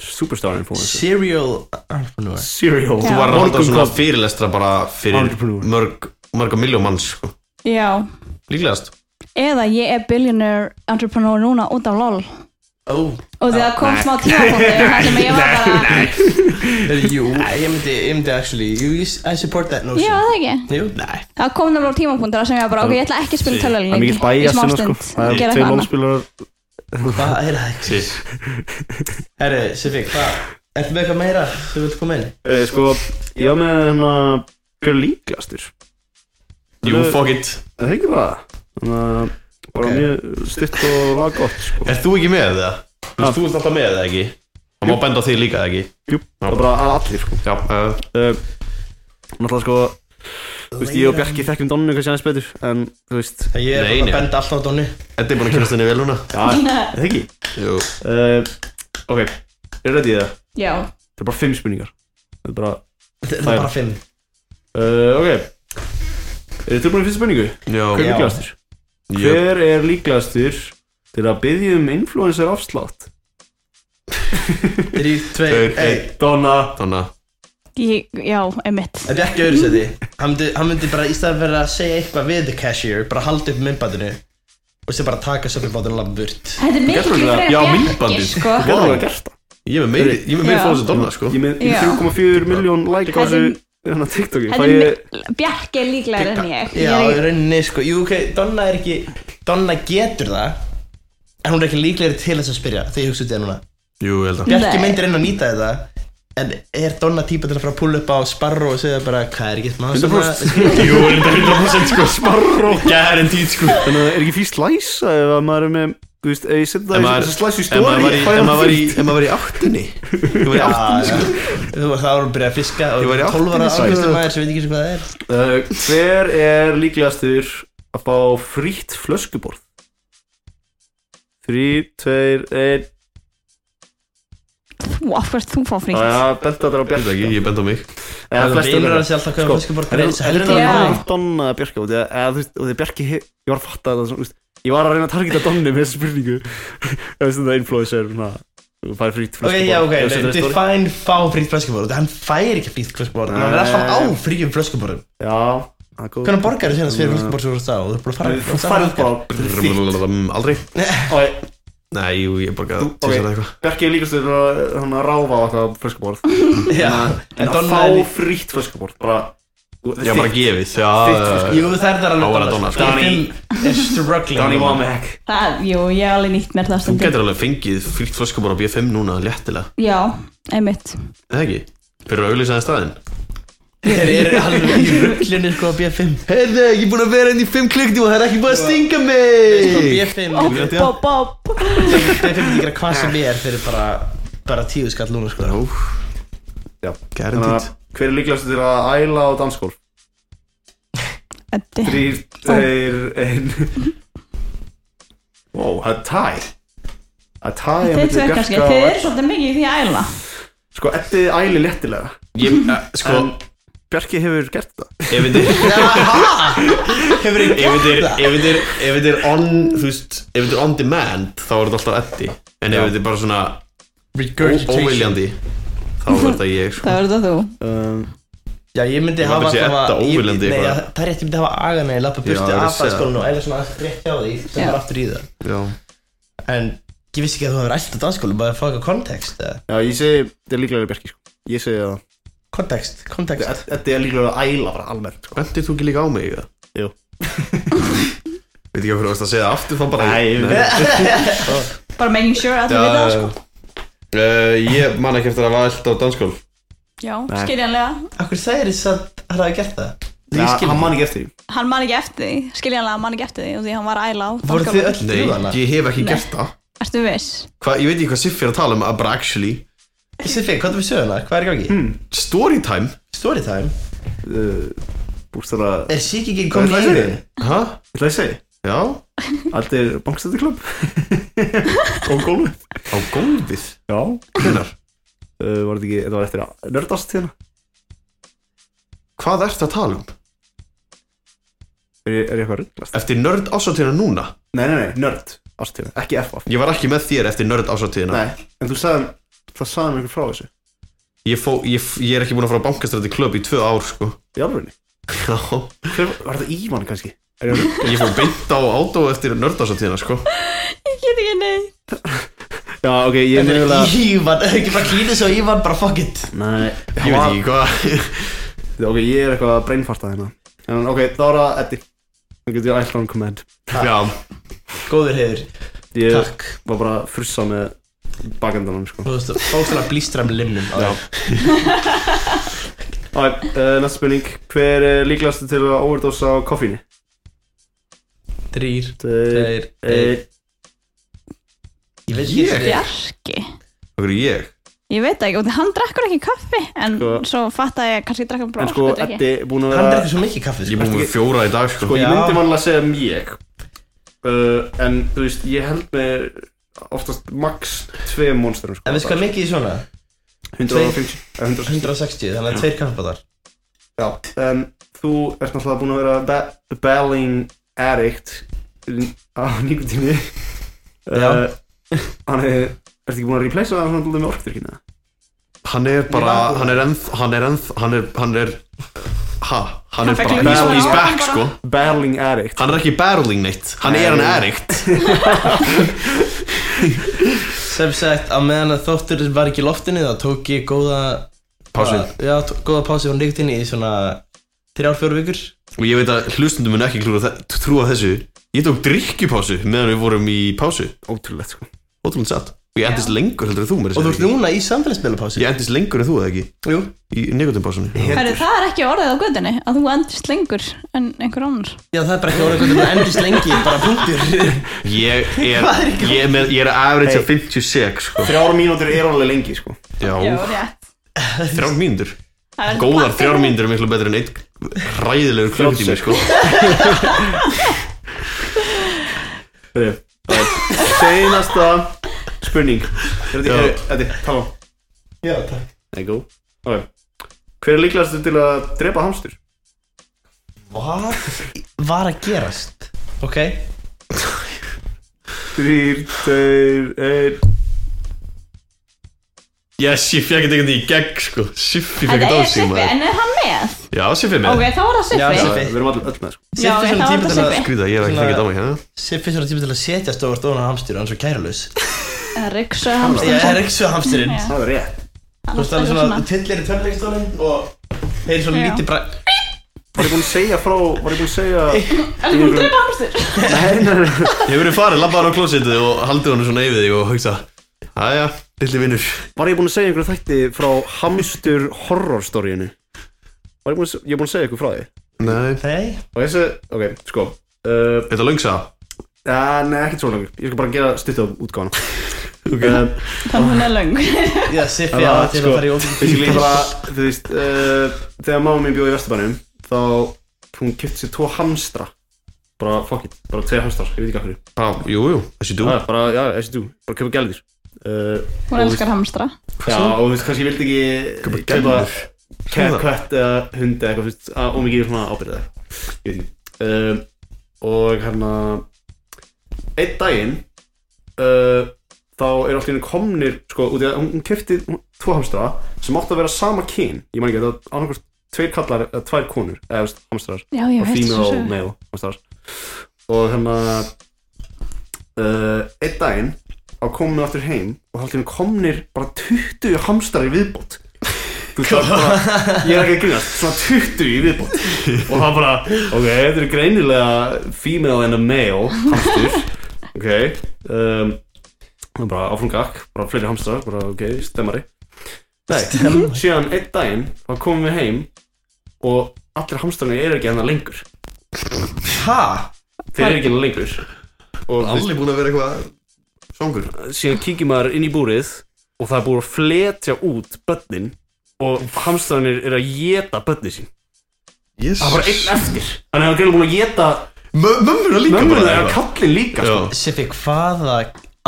S1: superstar influencer.
S2: Serial Ah, Entrepreneur
S1: Serial.
S4: Þú
S3: Þú var að halda svona
S1: Morgunkopp.
S3: fyrirlestra bara fyrir
S1: Entrepreneur.
S3: mörg, mörg miljón manns sko.
S4: Já,
S3: Líklegast
S4: eða ég er billionaire entrepreneur núna út af LOL
S2: Ó
S4: og
S1: Ah,
S4: því það kom smá tímapunkti
S1: <laughs>
S4: þar sem ég var bara,
S2: Heyrðu, Jú Ég myndi Ég myndi actually Jú, ég- I support that
S4: já
S2: notion
S4: það ekki
S2: Jú Nei
S4: Það kom nefnilega tímapunktur sem ég var bara, ok, ég ætla ekki að spila
S1: Það er
S4: tölvuleik
S1: mikill bæja sinna sko Það er tveir
S4: gera eitthvað annað.
S1: lónspilarar
S2: Hvað er það ekki?
S3: sí.
S2: Herru, Sifik, hvað? Ertu með eitthvað meira sem vilt koma inn?
S1: eh, Sko, ég var með hérna Hver er líklegastur?
S3: Jú, fuck it
S1: Er Það er ekki það Þannig að bara
S2: Ok.
S1: mjög stutt og var gott sko
S3: Er þú ekki með það? Þú veist, þú ert alltaf með það ekki? Það má benda á þig líka eða ekki?
S1: Jú, það er bara að allir sko
S3: Já, uh,
S1: Eh, Náttúrulega sko Þú veist, ég og Bjarki þekkjum Donnu kannski aðeins betur En, þú veist,
S2: Ég er
S3: Nei,
S2: bara
S3: nei.
S2: að benda alltaf á Donnu
S3: Eddi er búin að kynast henni vel núna
S1: er það ekki?
S3: Jú
S1: Uh, ok, er þetta í það?
S4: <laughs> Já,
S1: Þetta er bara fimm spurningar Þetta er bara,
S2: Þetta er
S1: Það er-
S2: bara fimm
S1: uh, ok Er þetta tilbúin í fyrsta spurningu? Hver er
S3: Já
S2: Já.
S1: líklegastur?
S3: Ég-
S1: Hver er líklegastur til að byggja um influencer afslátt?
S2: Þrýr, tveir,
S3: Tveir,
S2: einn
S3: einn.
S1: Donna
S3: Þannig að
S4: ég, já, einmitt
S2: Þetta er ekki öðru seti Hann myndi, hann myndi bara í staðan fyrir að segja eitthvað við the cashier Bara halda upp myndbandinu Og sem bara taka söpjubátunum og labba burt
S4: Þetta er miklu
S3: getur
S4: frekar
S3: alveg- já,
S4: Bjarki,
S3: myndbandið.
S4: sko
S1: Þú getur alveg gert það
S3: Ég er með meiri Ég er með meiri
S4: Já.
S3: fólks en Donna sko
S1: Ég er með ég
S4: Já.
S1: er með 4,4 miljón like á þessu
S4: Þetta er-
S1: Þannig að TikToki
S4: Þetta
S1: Fæ
S4: er
S1: ég
S4: mi- Bjarki er líklega en ég Ég
S2: Já, í
S4: er-
S2: rauninni sko Jú, ok, Donna er ekki Donna getur það En hún er ekki líklegri til þess að spyrja Þegar ég hugsa út í það núna
S3: Jú, ég held að
S2: Bjarki
S4: Nei.
S2: myndir inn að nýta þetta En er Donna típa til að fara að púla upp á Sparrow og segja bara Hvað er ekki smá sem að-
S1: 100%
S3: Jú, er þetta 100% sko Sparró Guaranteed sko
S1: <laughs> Þannig að er ekki fyrst læsa ef að maður er með Þú veist, ef ég setja
S3: Ef
S1: það í
S3: maður-
S1: þessu slæsu
S3: Ef maður var
S1: stóri
S3: í- ef maður var í Ef maður var í áttinni Ég var í
S2: Já,
S3: áttinni sko.
S2: já. Þú var þá að byrja að fiska og
S3: Ég var í
S2: 12 ára
S3: áttinni,
S2: áhustu maður sem veit ekki sem hvað það er
S1: Eh, Hver er líklegastur að fá frítt flöskuborð? 3, 2, 1
S4: Þú, af hverju ert þú fá
S1: Það
S4: frítt?
S1: er að benda þetta á
S3: Ég veit
S1: Bjarki
S3: ekki, ég benda á mig
S1: Eða
S2: Það
S1: flestir
S2: reynir
S1: þeirra.
S2: hann sér alltaf hvað
S1: Sko,
S2: flöskuborg
S1: Það er
S2: heldur
S1: það að
S2: en
S4: Já.
S2: hann
S1: hann Donna eða Bjarki út í það, eða þú veist, og því Bjarki he- ég var að fatta þetta svona, þú veist, ég var að reyna að targeta Donni með þessu spurningu <laughs> eða veist þetta influencer svona, þú fær frýtt
S2: Ok, já, ok, nei, define fá frýtt flöskuborð Hann fær ekki frýtt flöskuborð en Hann er alltaf á frýjum flöskuborðum
S1: Já, það er góð
S2: Hvernig borgar þú þess fyrir flöskuborð sem þú ert á? Þú ert bara að
S1: Þú
S2: fara
S1: færð bara
S3: Brrrr, Aldrei
S1: Ok,
S3: Nei, jú, ég borga
S1: Þú-
S3: til
S1: ok.
S3: þess að eitthvað
S1: Bjarki er líkast til að hann að ráfa á eitthvað flöskuborð
S2: Já, en
S1: en að
S2: Donna er
S1: fá
S2: líka
S1: frýtt flöskuborð bara,
S3: Já, bara gefið Já,
S1: Þitt,
S3: já,
S1: sko.
S3: já.
S2: Jú, það er það
S3: Á að
S2: alveg
S3: vera Donna, sko.
S2: Donna er struggling
S1: Danny Womack
S4: Það, jú, ég hef alveg nýtt mér það
S3: Þú
S4: stundum
S3: getur alveg fengið fríkt flöskubor á B5 núna, léttilega
S4: Já, einmitt
S3: Eða ekki? Fyrir að auglýsa það staðinn
S2: Þeir eru alveg í rugglunni sko á B5
S3: Heiðu, ég er búin að vera henni í 5 klukktíma og það er ekki búin að stinga
S2: Sko
S3: mig
S2: B5
S4: Bob, bob, bob
S2: B5 er ekki að gera hvað sem er fyrir bara bara tíu skall núna sko
S3: Ó,
S1: Já. Þannig að
S3: guaranteed
S1: hver er líkast til að æla á danskólf?
S4: Eddi.
S1: Þrýr, tveir, einn Wow, það er tæ Það er tæ að
S4: Þið
S1: milli
S4: tveir
S1: Bjarka
S4: kannski,
S1: og
S4: þið eru
S1: Eddu.
S4: svolítið mikið í því að æla
S1: Sko, Eddi æli léttilega
S3: Ég, eh, sko,
S1: En Bjarki hefur gert þetta
S3: ef þetta er
S2: Hefur þið
S3: ef þetta er,
S2: gert það?
S3: ef þetta er, ef þetta er on, þú veist, ef þetta er on demand þá er þetta alltaf eddi En ef þetta er bara svona ó- óviljandi þá er þetta ég, sko
S4: <laughs> Það verður það þú
S1: um,
S2: Já, ég myndi
S3: Ég held
S2: hafa
S3: að sé
S2: allavega-
S3: Edda
S2: ég-
S3: óviljandi
S2: Nei,
S3: eitthvað.
S2: já, það er rétt, ég myndi hafa agana í lappa burti
S3: Já, ég
S2: af
S3: vissi það.
S2: fræðskólinu og eða svona aðeins rétt hjá því sem
S4: Já.
S2: var aftur í það
S3: Já,
S2: En ég vissi ekki að þú hefur ætti á dansskólu, bara að fá eitthvað kontekst eða
S1: Já, ég segi, þetta er líklega Bjarki sko. Ég segi að
S2: Kontekst, kontekst
S1: Eddi er líklega að æla bara almennt sko.
S3: bendir þú ekki líka á mig, eða?
S1: Jú.
S3: <laughs> Veit ekki af hverju þú varst að segja það aftur þá bara
S1: Nei,
S4: Bara making sure að
S3: Já,
S4: allir vita það sko
S3: Uh, ég man ekki eftir að hafa allt á danskól
S4: Já, skiljanlega
S2: Akkur segir þess að hann hafi gert það?
S1: ja, hann man ekki eftir því
S4: Hann man ekki eftir því, skiljanlega hann man ekki eftir því og því hann var að æla á
S2: Voru þið
S4: dansgólfinu.
S2: öll þrjú hana?
S3: ég hef ekki
S4: Nei.
S3: gert það
S4: Ertu viss?
S3: Hva, Ég veit ekki hvað Siffi er að tala um að bara actually
S2: Siffi, hvað er við söguna? Hvað er í gangi?
S3: Storytime
S2: Storytime?
S1: uh, Búst þar að
S2: Er Siki ekki komin
S1: Hvað
S2: í
S1: er það?
S2: yfir?
S3: Hæ?
S1: Ætla ég segi,
S3: Já,
S1: allir <laughs> bankstættiklub Og gólfið
S3: á gólfið
S1: Já
S3: Hvenær?
S1: Uh, var þetta ekki, þetta var eftir að nördast hérna
S3: Hvað ertu að tala um?
S1: Er ég, er ég eitthvað rugglast?
S3: Eftir nörd ásatíðina núna
S1: Nei, nei, nei, nörd ástíðina, ekki FF
S3: Ég var ekki með þér eftir nörd ásatíðina
S1: Nei, en þú sagði, það sagði mér einhver frá þessu
S3: ég, fó, ég, f- ég er ekki búin að fara á bankastræti klub í tvö ár sko
S1: Í alvegni
S3: Já
S1: Hver, Var þetta Ívan kannski? Er ég <laughs> alveg?
S3: <laughs> Ég fór beint á átó eftir nörd ásatíðina sko
S4: Ég get ekki neitt
S1: Já, ok, ég
S2: Þetta
S1: nefnilega
S2: er Ívan, ekki bara klínið svo Ívan, bara fuck it
S1: Nei,
S3: Ég veit ekki hvað
S1: Ok, ég er eitthvað að breinfarta hérna En ok, þá er það Eddi Þannig getur ég ætla hann komið end
S3: Já,
S2: Góður hefur,
S1: Ég
S2: takk
S1: var bara að frussa með bakendanum, sko
S2: Þú veist, fólk svona blístra með limnum á
S1: Já.
S2: þér.
S1: Ok, uh, næsta spurning Hver er líklegast til að overdosa á koffíni?
S2: Þrír,
S1: Þeir
S2: tveir, einn
S1: Þeir
S2: Ég veit ekki
S3: Ég?
S2: yeah.
S4: Bjarki
S3: okkur ég
S4: Ég veit það ekki, og því hann drekkur ekki kaffi en
S1: Sko-
S4: svo fatta ég, kannski drekkur hann bara
S1: En sko,
S4: orkudrykki.
S1: Eddi er búin að
S2: Hann
S1: vera
S2: drekkur svo mikið kaffi sko.
S3: Ég er búin með fjóra í dag sko.
S1: Sko, ég
S2: Já.
S1: myndi mannlega segja mjög uh, En, þú veist, ég held með oftast max tvei monsterum sko
S2: En við skoðum mikið í svona
S1: 150 eh, 160
S2: 160, þannig að tveir kaffibatar
S1: Já, en þú ert náttúrulega búin að vera ba Belling addict á nikotínu
S2: Já.
S1: Þannig, ertu ekki búin að replacea það svona dálítið með hérna? orkdrykkina?
S3: Hann er bara Hann er enn Hann er enn Hann er Hann er Ha Hann
S4: Hann
S3: er
S4: fekk
S3: bara
S4: líka
S3: Battle
S4: svona
S3: is
S4: áfram
S3: back
S4: bara.
S3: sko
S1: Belling addict
S3: Hann er ekki barreling neitt Hann er hann erikt
S2: Sem sagt, á meðan að þóttur var ekki í loftinu þá tók ég góða
S3: Pásin
S2: Já, tó- góða pási frá nýttinni í svona þrjár, fjóru vikur
S3: Og ég veit að hlustundum mun ekki klúra þe- trúa þessu Ég tók drikkjupásu meðan við vorum í pásu
S1: Ótrúlegt sko
S3: Ótrúlega satt Og ég endist lengur heldur en þú mér
S2: Og þú ert núna í samfélagsmiðlapási
S3: Ég endist lengur en þú eða ekki
S2: Jú
S3: Í nikotinpásunni
S4: Herru, það er ekki orðið á gödunni að þú endist lengur en einhver annar
S2: Já, það er bara ekki orðið hvernig maður endist lengi, bara punktur
S3: Ég er Ég er, með, ég er að average hey. 56 sko
S1: Þrjára mínútur er alveg lengi sko
S4: Já,
S3: Já,
S4: rétt
S3: þrjár mínútur
S4: Það er
S3: Góðar
S4: þetta
S3: þrjár
S4: platinum.
S3: mínútur er miklu betur en eitt ræðilegur klukkutími sko
S1: Heyrðu, það er Seinasta spurning Þetta
S3: Já.
S1: er, þetta er, tala
S2: Já, takk
S1: Það er góð Ok Hver er líklegastur til að drepa hamstur?
S2: Hvað var að gerast? Ok
S1: Þrýr, tveir, einn
S3: Yes, ég fekk þetta einhvern veginn í gegn sko Siffi fekk
S4: Þetta
S3: þetta á
S4: er
S3: sig
S4: Siffi,
S3: maður
S4: en er hann með?
S3: Já, Siffi er
S4: Ok,
S3: með
S4: þá er það
S2: Já,
S4: Siffi
S2: Siffi.
S1: Við erum allir öll með sko
S4: Já,
S2: Siffi er
S4: þá er það
S2: svona típa til að
S4: Siffi
S3: Skrýta, ég er ekki
S2: Svona-
S3: fengið á mig hérna
S2: Sitt finnst svona tíma til að setja stórt ofan á hamstýru, hann er svo kærlaus
S4: Riksu
S2: Ég
S4: hamstur
S2: er ekki svo hamstýrin
S4: Já.
S1: Það er rétt
S2: Þú veist, hann er svona tillir í törnleikstólinn og heyrir svona
S4: Já.
S2: lítið bara
S1: Var ég búinn að segja frá Var ég búinn að segja
S4: Er hún drepa hamstur?
S1: Nei, nei, nei
S3: Hefur þið farið, labbaður á klósitið og haldið honum svona yfir þig og hugsa Æja, lilli vinnur
S1: Var ég búinn að segja einhverju þætti frá hamstur horror storyinu? Var ég búinn að, ég er búinn að segja ykkur frá því?
S3: Nei
S2: Nei,
S1: Og þessi, ok, sko uh,
S3: Þetta löngsa
S1: ja, Nei, ekkert svo langur Ég skal bara gera stutt á útgáfana Ok um,
S4: Það hún er löng
S2: já, Siffi
S1: Það
S2: á
S1: var,
S2: til
S1: sko,
S2: að fara í ofin
S1: Basically bara, þú veist uh, Þegar mamma mín bjóði í Vesturbanum Þá, hún kipti sér tvo hamstra Bara, fuck it, bara tveir hamstrar Ég veit ekki af hverju
S3: Já, jú, jú, þessi dú
S1: Já, bara, já, þessi þú, bara köpa gældir uh,
S4: Hún elskar hamstra
S1: Já, og þú veist, kannski ég vildi ekki Kaupa
S3: Svona.
S1: cat, cat eða hund eða eitthvað, þú veist að- Og mikið svona ábyrðið Ég veit ekki um, Og hérna Einn daginn uh, Þá er alltaf henni komnir Sko, út í að hún, hún kipti tvo hamstra Sem átti að vera sama kyn Ég man ekki, þetta var annarkvæmst tveir kallar eða tvær konur eða þú veist, hamstrar
S4: Já, ég
S1: og
S4: veit
S1: female
S4: svo
S1: og
S4: svo
S1: male hamstrar. og hérna uh, einn daginn á komum við aftur heim og þá hérna komnir bara 20 hamstrar í viðbót Þú veist, það er bara, ég er ekki að grínast svona 20 í viðbót og það bara, ok, þetta er greinilega female and a male hamstur ok um, og bara áfram gakk, bara fleiri hamstrar bara ok, stemmari Nei, síðan einn daginn þá komum við heim og allir hamstrarnir eru ekki hennar lengur
S2: Ha?
S1: þeir eru ekki hennar lengur og þú
S3: Allir búin að vera eitthvað svangur
S1: veist, síðan kíkir maður inn í búrið og það er búið að fletja út börnin og hamstrarnir eru að geta börnin sín
S3: Yes
S1: það er bara einn eftir þannig að það er greinilega búin að geta
S3: Mömmuna líka
S1: mömmuna
S3: bara
S1: eða kallin líka sko.
S3: Já,
S2: Siffi, hvaða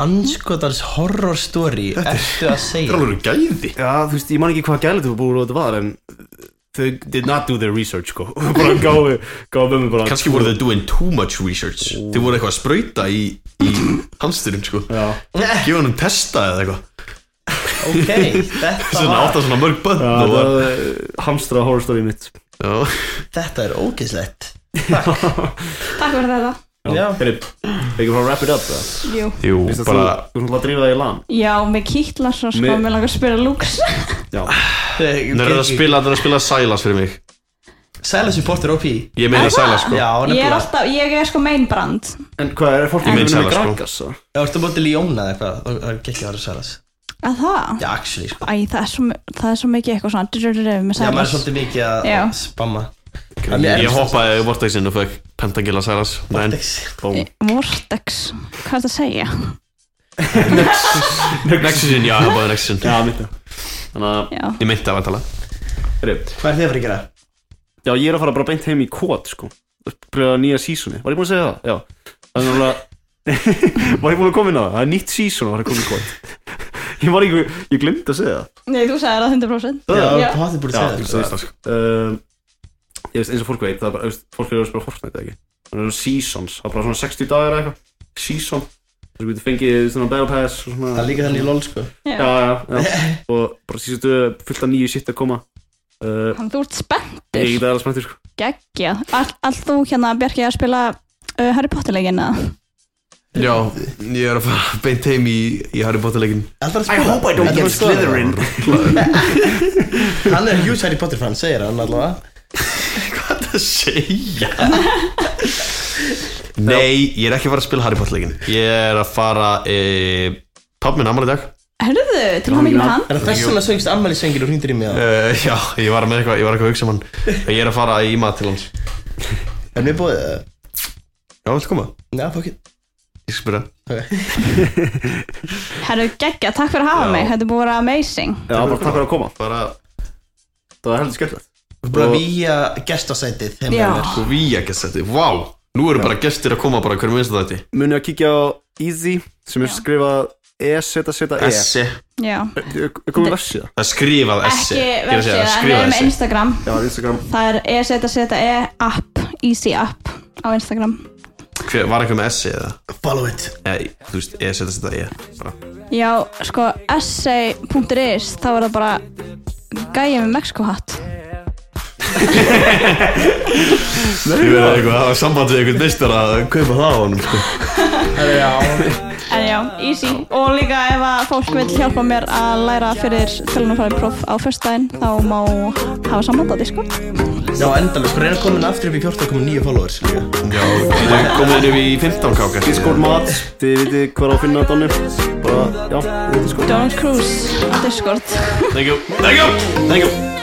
S2: anskotans horror story ertu að
S3: þetta er
S2: segja?
S3: alveg gæði
S1: já, þú veist, ég man ekki hvað gælið þú búið að þetta var en þau did not do their research sko <laughs> og bara gáðu, gáðu mömmu bara
S3: Kanski voru þau doing too much research Þau voru eitthvað að sprauta í, í hamsturinn sko
S1: já,
S3: Gefa hann testa eða eitthvað
S2: Ok, þetta
S3: Svona
S2: var
S3: átt að svona mörg bönn
S1: já,
S3: og
S1: það
S3: var
S1: var uh, hamstra horror story mitt
S3: Já,
S2: Þetta er ógeðslegt
S4: Takk fyrir þetta
S2: Já.
S1: Herri, við ekki fara að wrap it up það
S4: Jú.
S3: jú,
S1: Vist að
S3: bara
S1: þú, þú ætla að drífa það í lan
S4: Já, mig kýtlar svo sko,
S1: Mér-
S4: mér langar að spila lúks
S3: Nei, það er að spila, það er að spila Silas fyrir mig
S2: Silent Support er OP
S3: Ég meina
S4: <laughs>
S3: Silas sko
S2: Já,
S4: Ég er
S2: nefnilega
S4: alltaf, ég er sko mainbrand
S1: En hvað er fólk
S3: Ég
S1: að
S3: meina
S1: vinna með
S3: Silas, sko.
S1: Gragas? eða?
S2: Ég ertu að bóti Ljóna eða eitthvað og það er ekki að vera Silent
S4: Að það?
S2: Já, actually, sko
S4: Æ, það er svo, það er svo mikið eitthvað svona drururur með
S2: Já, maður er
S4: sælas
S2: svolítið mikið að
S4: Já.
S2: spamma En mér
S3: Ég
S2: er-
S3: hoppaði í Vortexin og fekk Pentagilla Silas Men,
S1: Bóm
S4: Vortex, hvað er það að segja?
S3: Nexusin, já, hoppaði Nexusin
S1: Já, mitt það Þannig að,
S4: já,
S3: Ég meinti það vantala
S1: heyrðu,
S2: Hvað er þið að fara að gera?
S1: já, ég er að fara bara beint heim í kvot, sko Byrjaði að nýja sísoni, var ég búin að segja það? Já, það er náttúrulega <laughs> Var ég búin að koma inn á það? Það er nýtt síson var að koma í kvot Ég var ekki, ég glemdi að segja það
S4: nei, þú sagði það 100%
S2: Já,
S4: já,
S2: hvað þið búin
S1: Já,
S2: að
S1: þú
S2: segja
S1: segir það sko um, Ég veist eins og fólk veit það er bara, þú veist, fólk eru að spila Fortnite eða ekki Það eru seasons, það er bara svona 60 dagar eða eitthvað Season Þú getur fengið svona battle pass og svona
S2: Það er líka þannig í LOL sko
S1: Já, já, já Og bara síðustu fullt af nýju sitt að koma uh,
S4: Þannig þú ert
S1: Ég
S4: spenntur,
S1: get aðeins með sko
S4: geggja Allt all þú hérna, Bjarki, að spila uh, Harry Potter leikina
S3: Já, ég er að fara beint heim í, í Harry Potter leikin
S2: Alltaf að spila I hope I don't get Slytherin Hann er huge Harry Potter fan, segir hann allavega
S3: Hvað það <laughs> segja? <laughs> Nei, ég er ekki að fara að spila Harry Potter leikin Ég er að fara e, Pappi minn ammali dag
S4: Hörðu, til hann ekki með hann
S2: Er það þess vegna söngst ammæli söngir og hringdur í mig það?
S3: Uh, já, ég var með eitthvað, ég var eitthvað að hugsa um hann Ég er að fara í mat til hans Já,
S2: Er mér búið það?
S3: viltu koma?
S2: Já, fuck it
S3: Ég skal spyrja
S2: Ok.
S4: Hörðu, geggja, takk fyrir að hafa
S3: Já.
S4: mig, þetta er búið að vera amazing
S1: Já, bara takk fyrir að koma
S3: Bara
S1: Það er heldur skemmtilegt
S2: Þú er búin að víja gestasætið þeim
S4: Já.
S2: með mér
S3: svo víja gestið, vá Nú eru bara gestir að koma bara hverjum minnst þetta
S1: Munið að kíkja á Easy sem er skrifað E E-Z-Z-E
S3: Essi
S4: Já,
S1: Komum versið
S3: Það er skrifað essi
S4: ekki
S3: Ég er að
S4: versið,
S3: segja, það er
S4: en
S3: skrifað
S4: við erum með
S3: essi
S4: Instagram
S1: Já, Instagram
S4: Það er EZZE app, easy app á Instagram
S3: Hver, Var eitthvað með essi eða?
S2: Follow it
S3: Nei, þú veist, ég setja þetta ég bara.
S4: Já, sko, essay.is þá er það bara gæja með Mexikohatt
S3: Ég verði eitthvað, það var samband við einhvern meistar að kaupa það á honum sko.
S4: En já, easy Og líka ef að fólk vil hjálpa mér að læra fyrir fjölunarfæri próf á föstudaginn þá má hafa samband á Discord
S2: Já, endalust, reyna að koma aftur upp í 14.9 followers líka
S3: Já, við erum komin upp í 15 káka
S1: Discord mat Þið vitið hvað er að finna Donni Bara, já, þið vitið sko
S4: Donald Cruz á Discord
S3: Thank you, thank you, thank you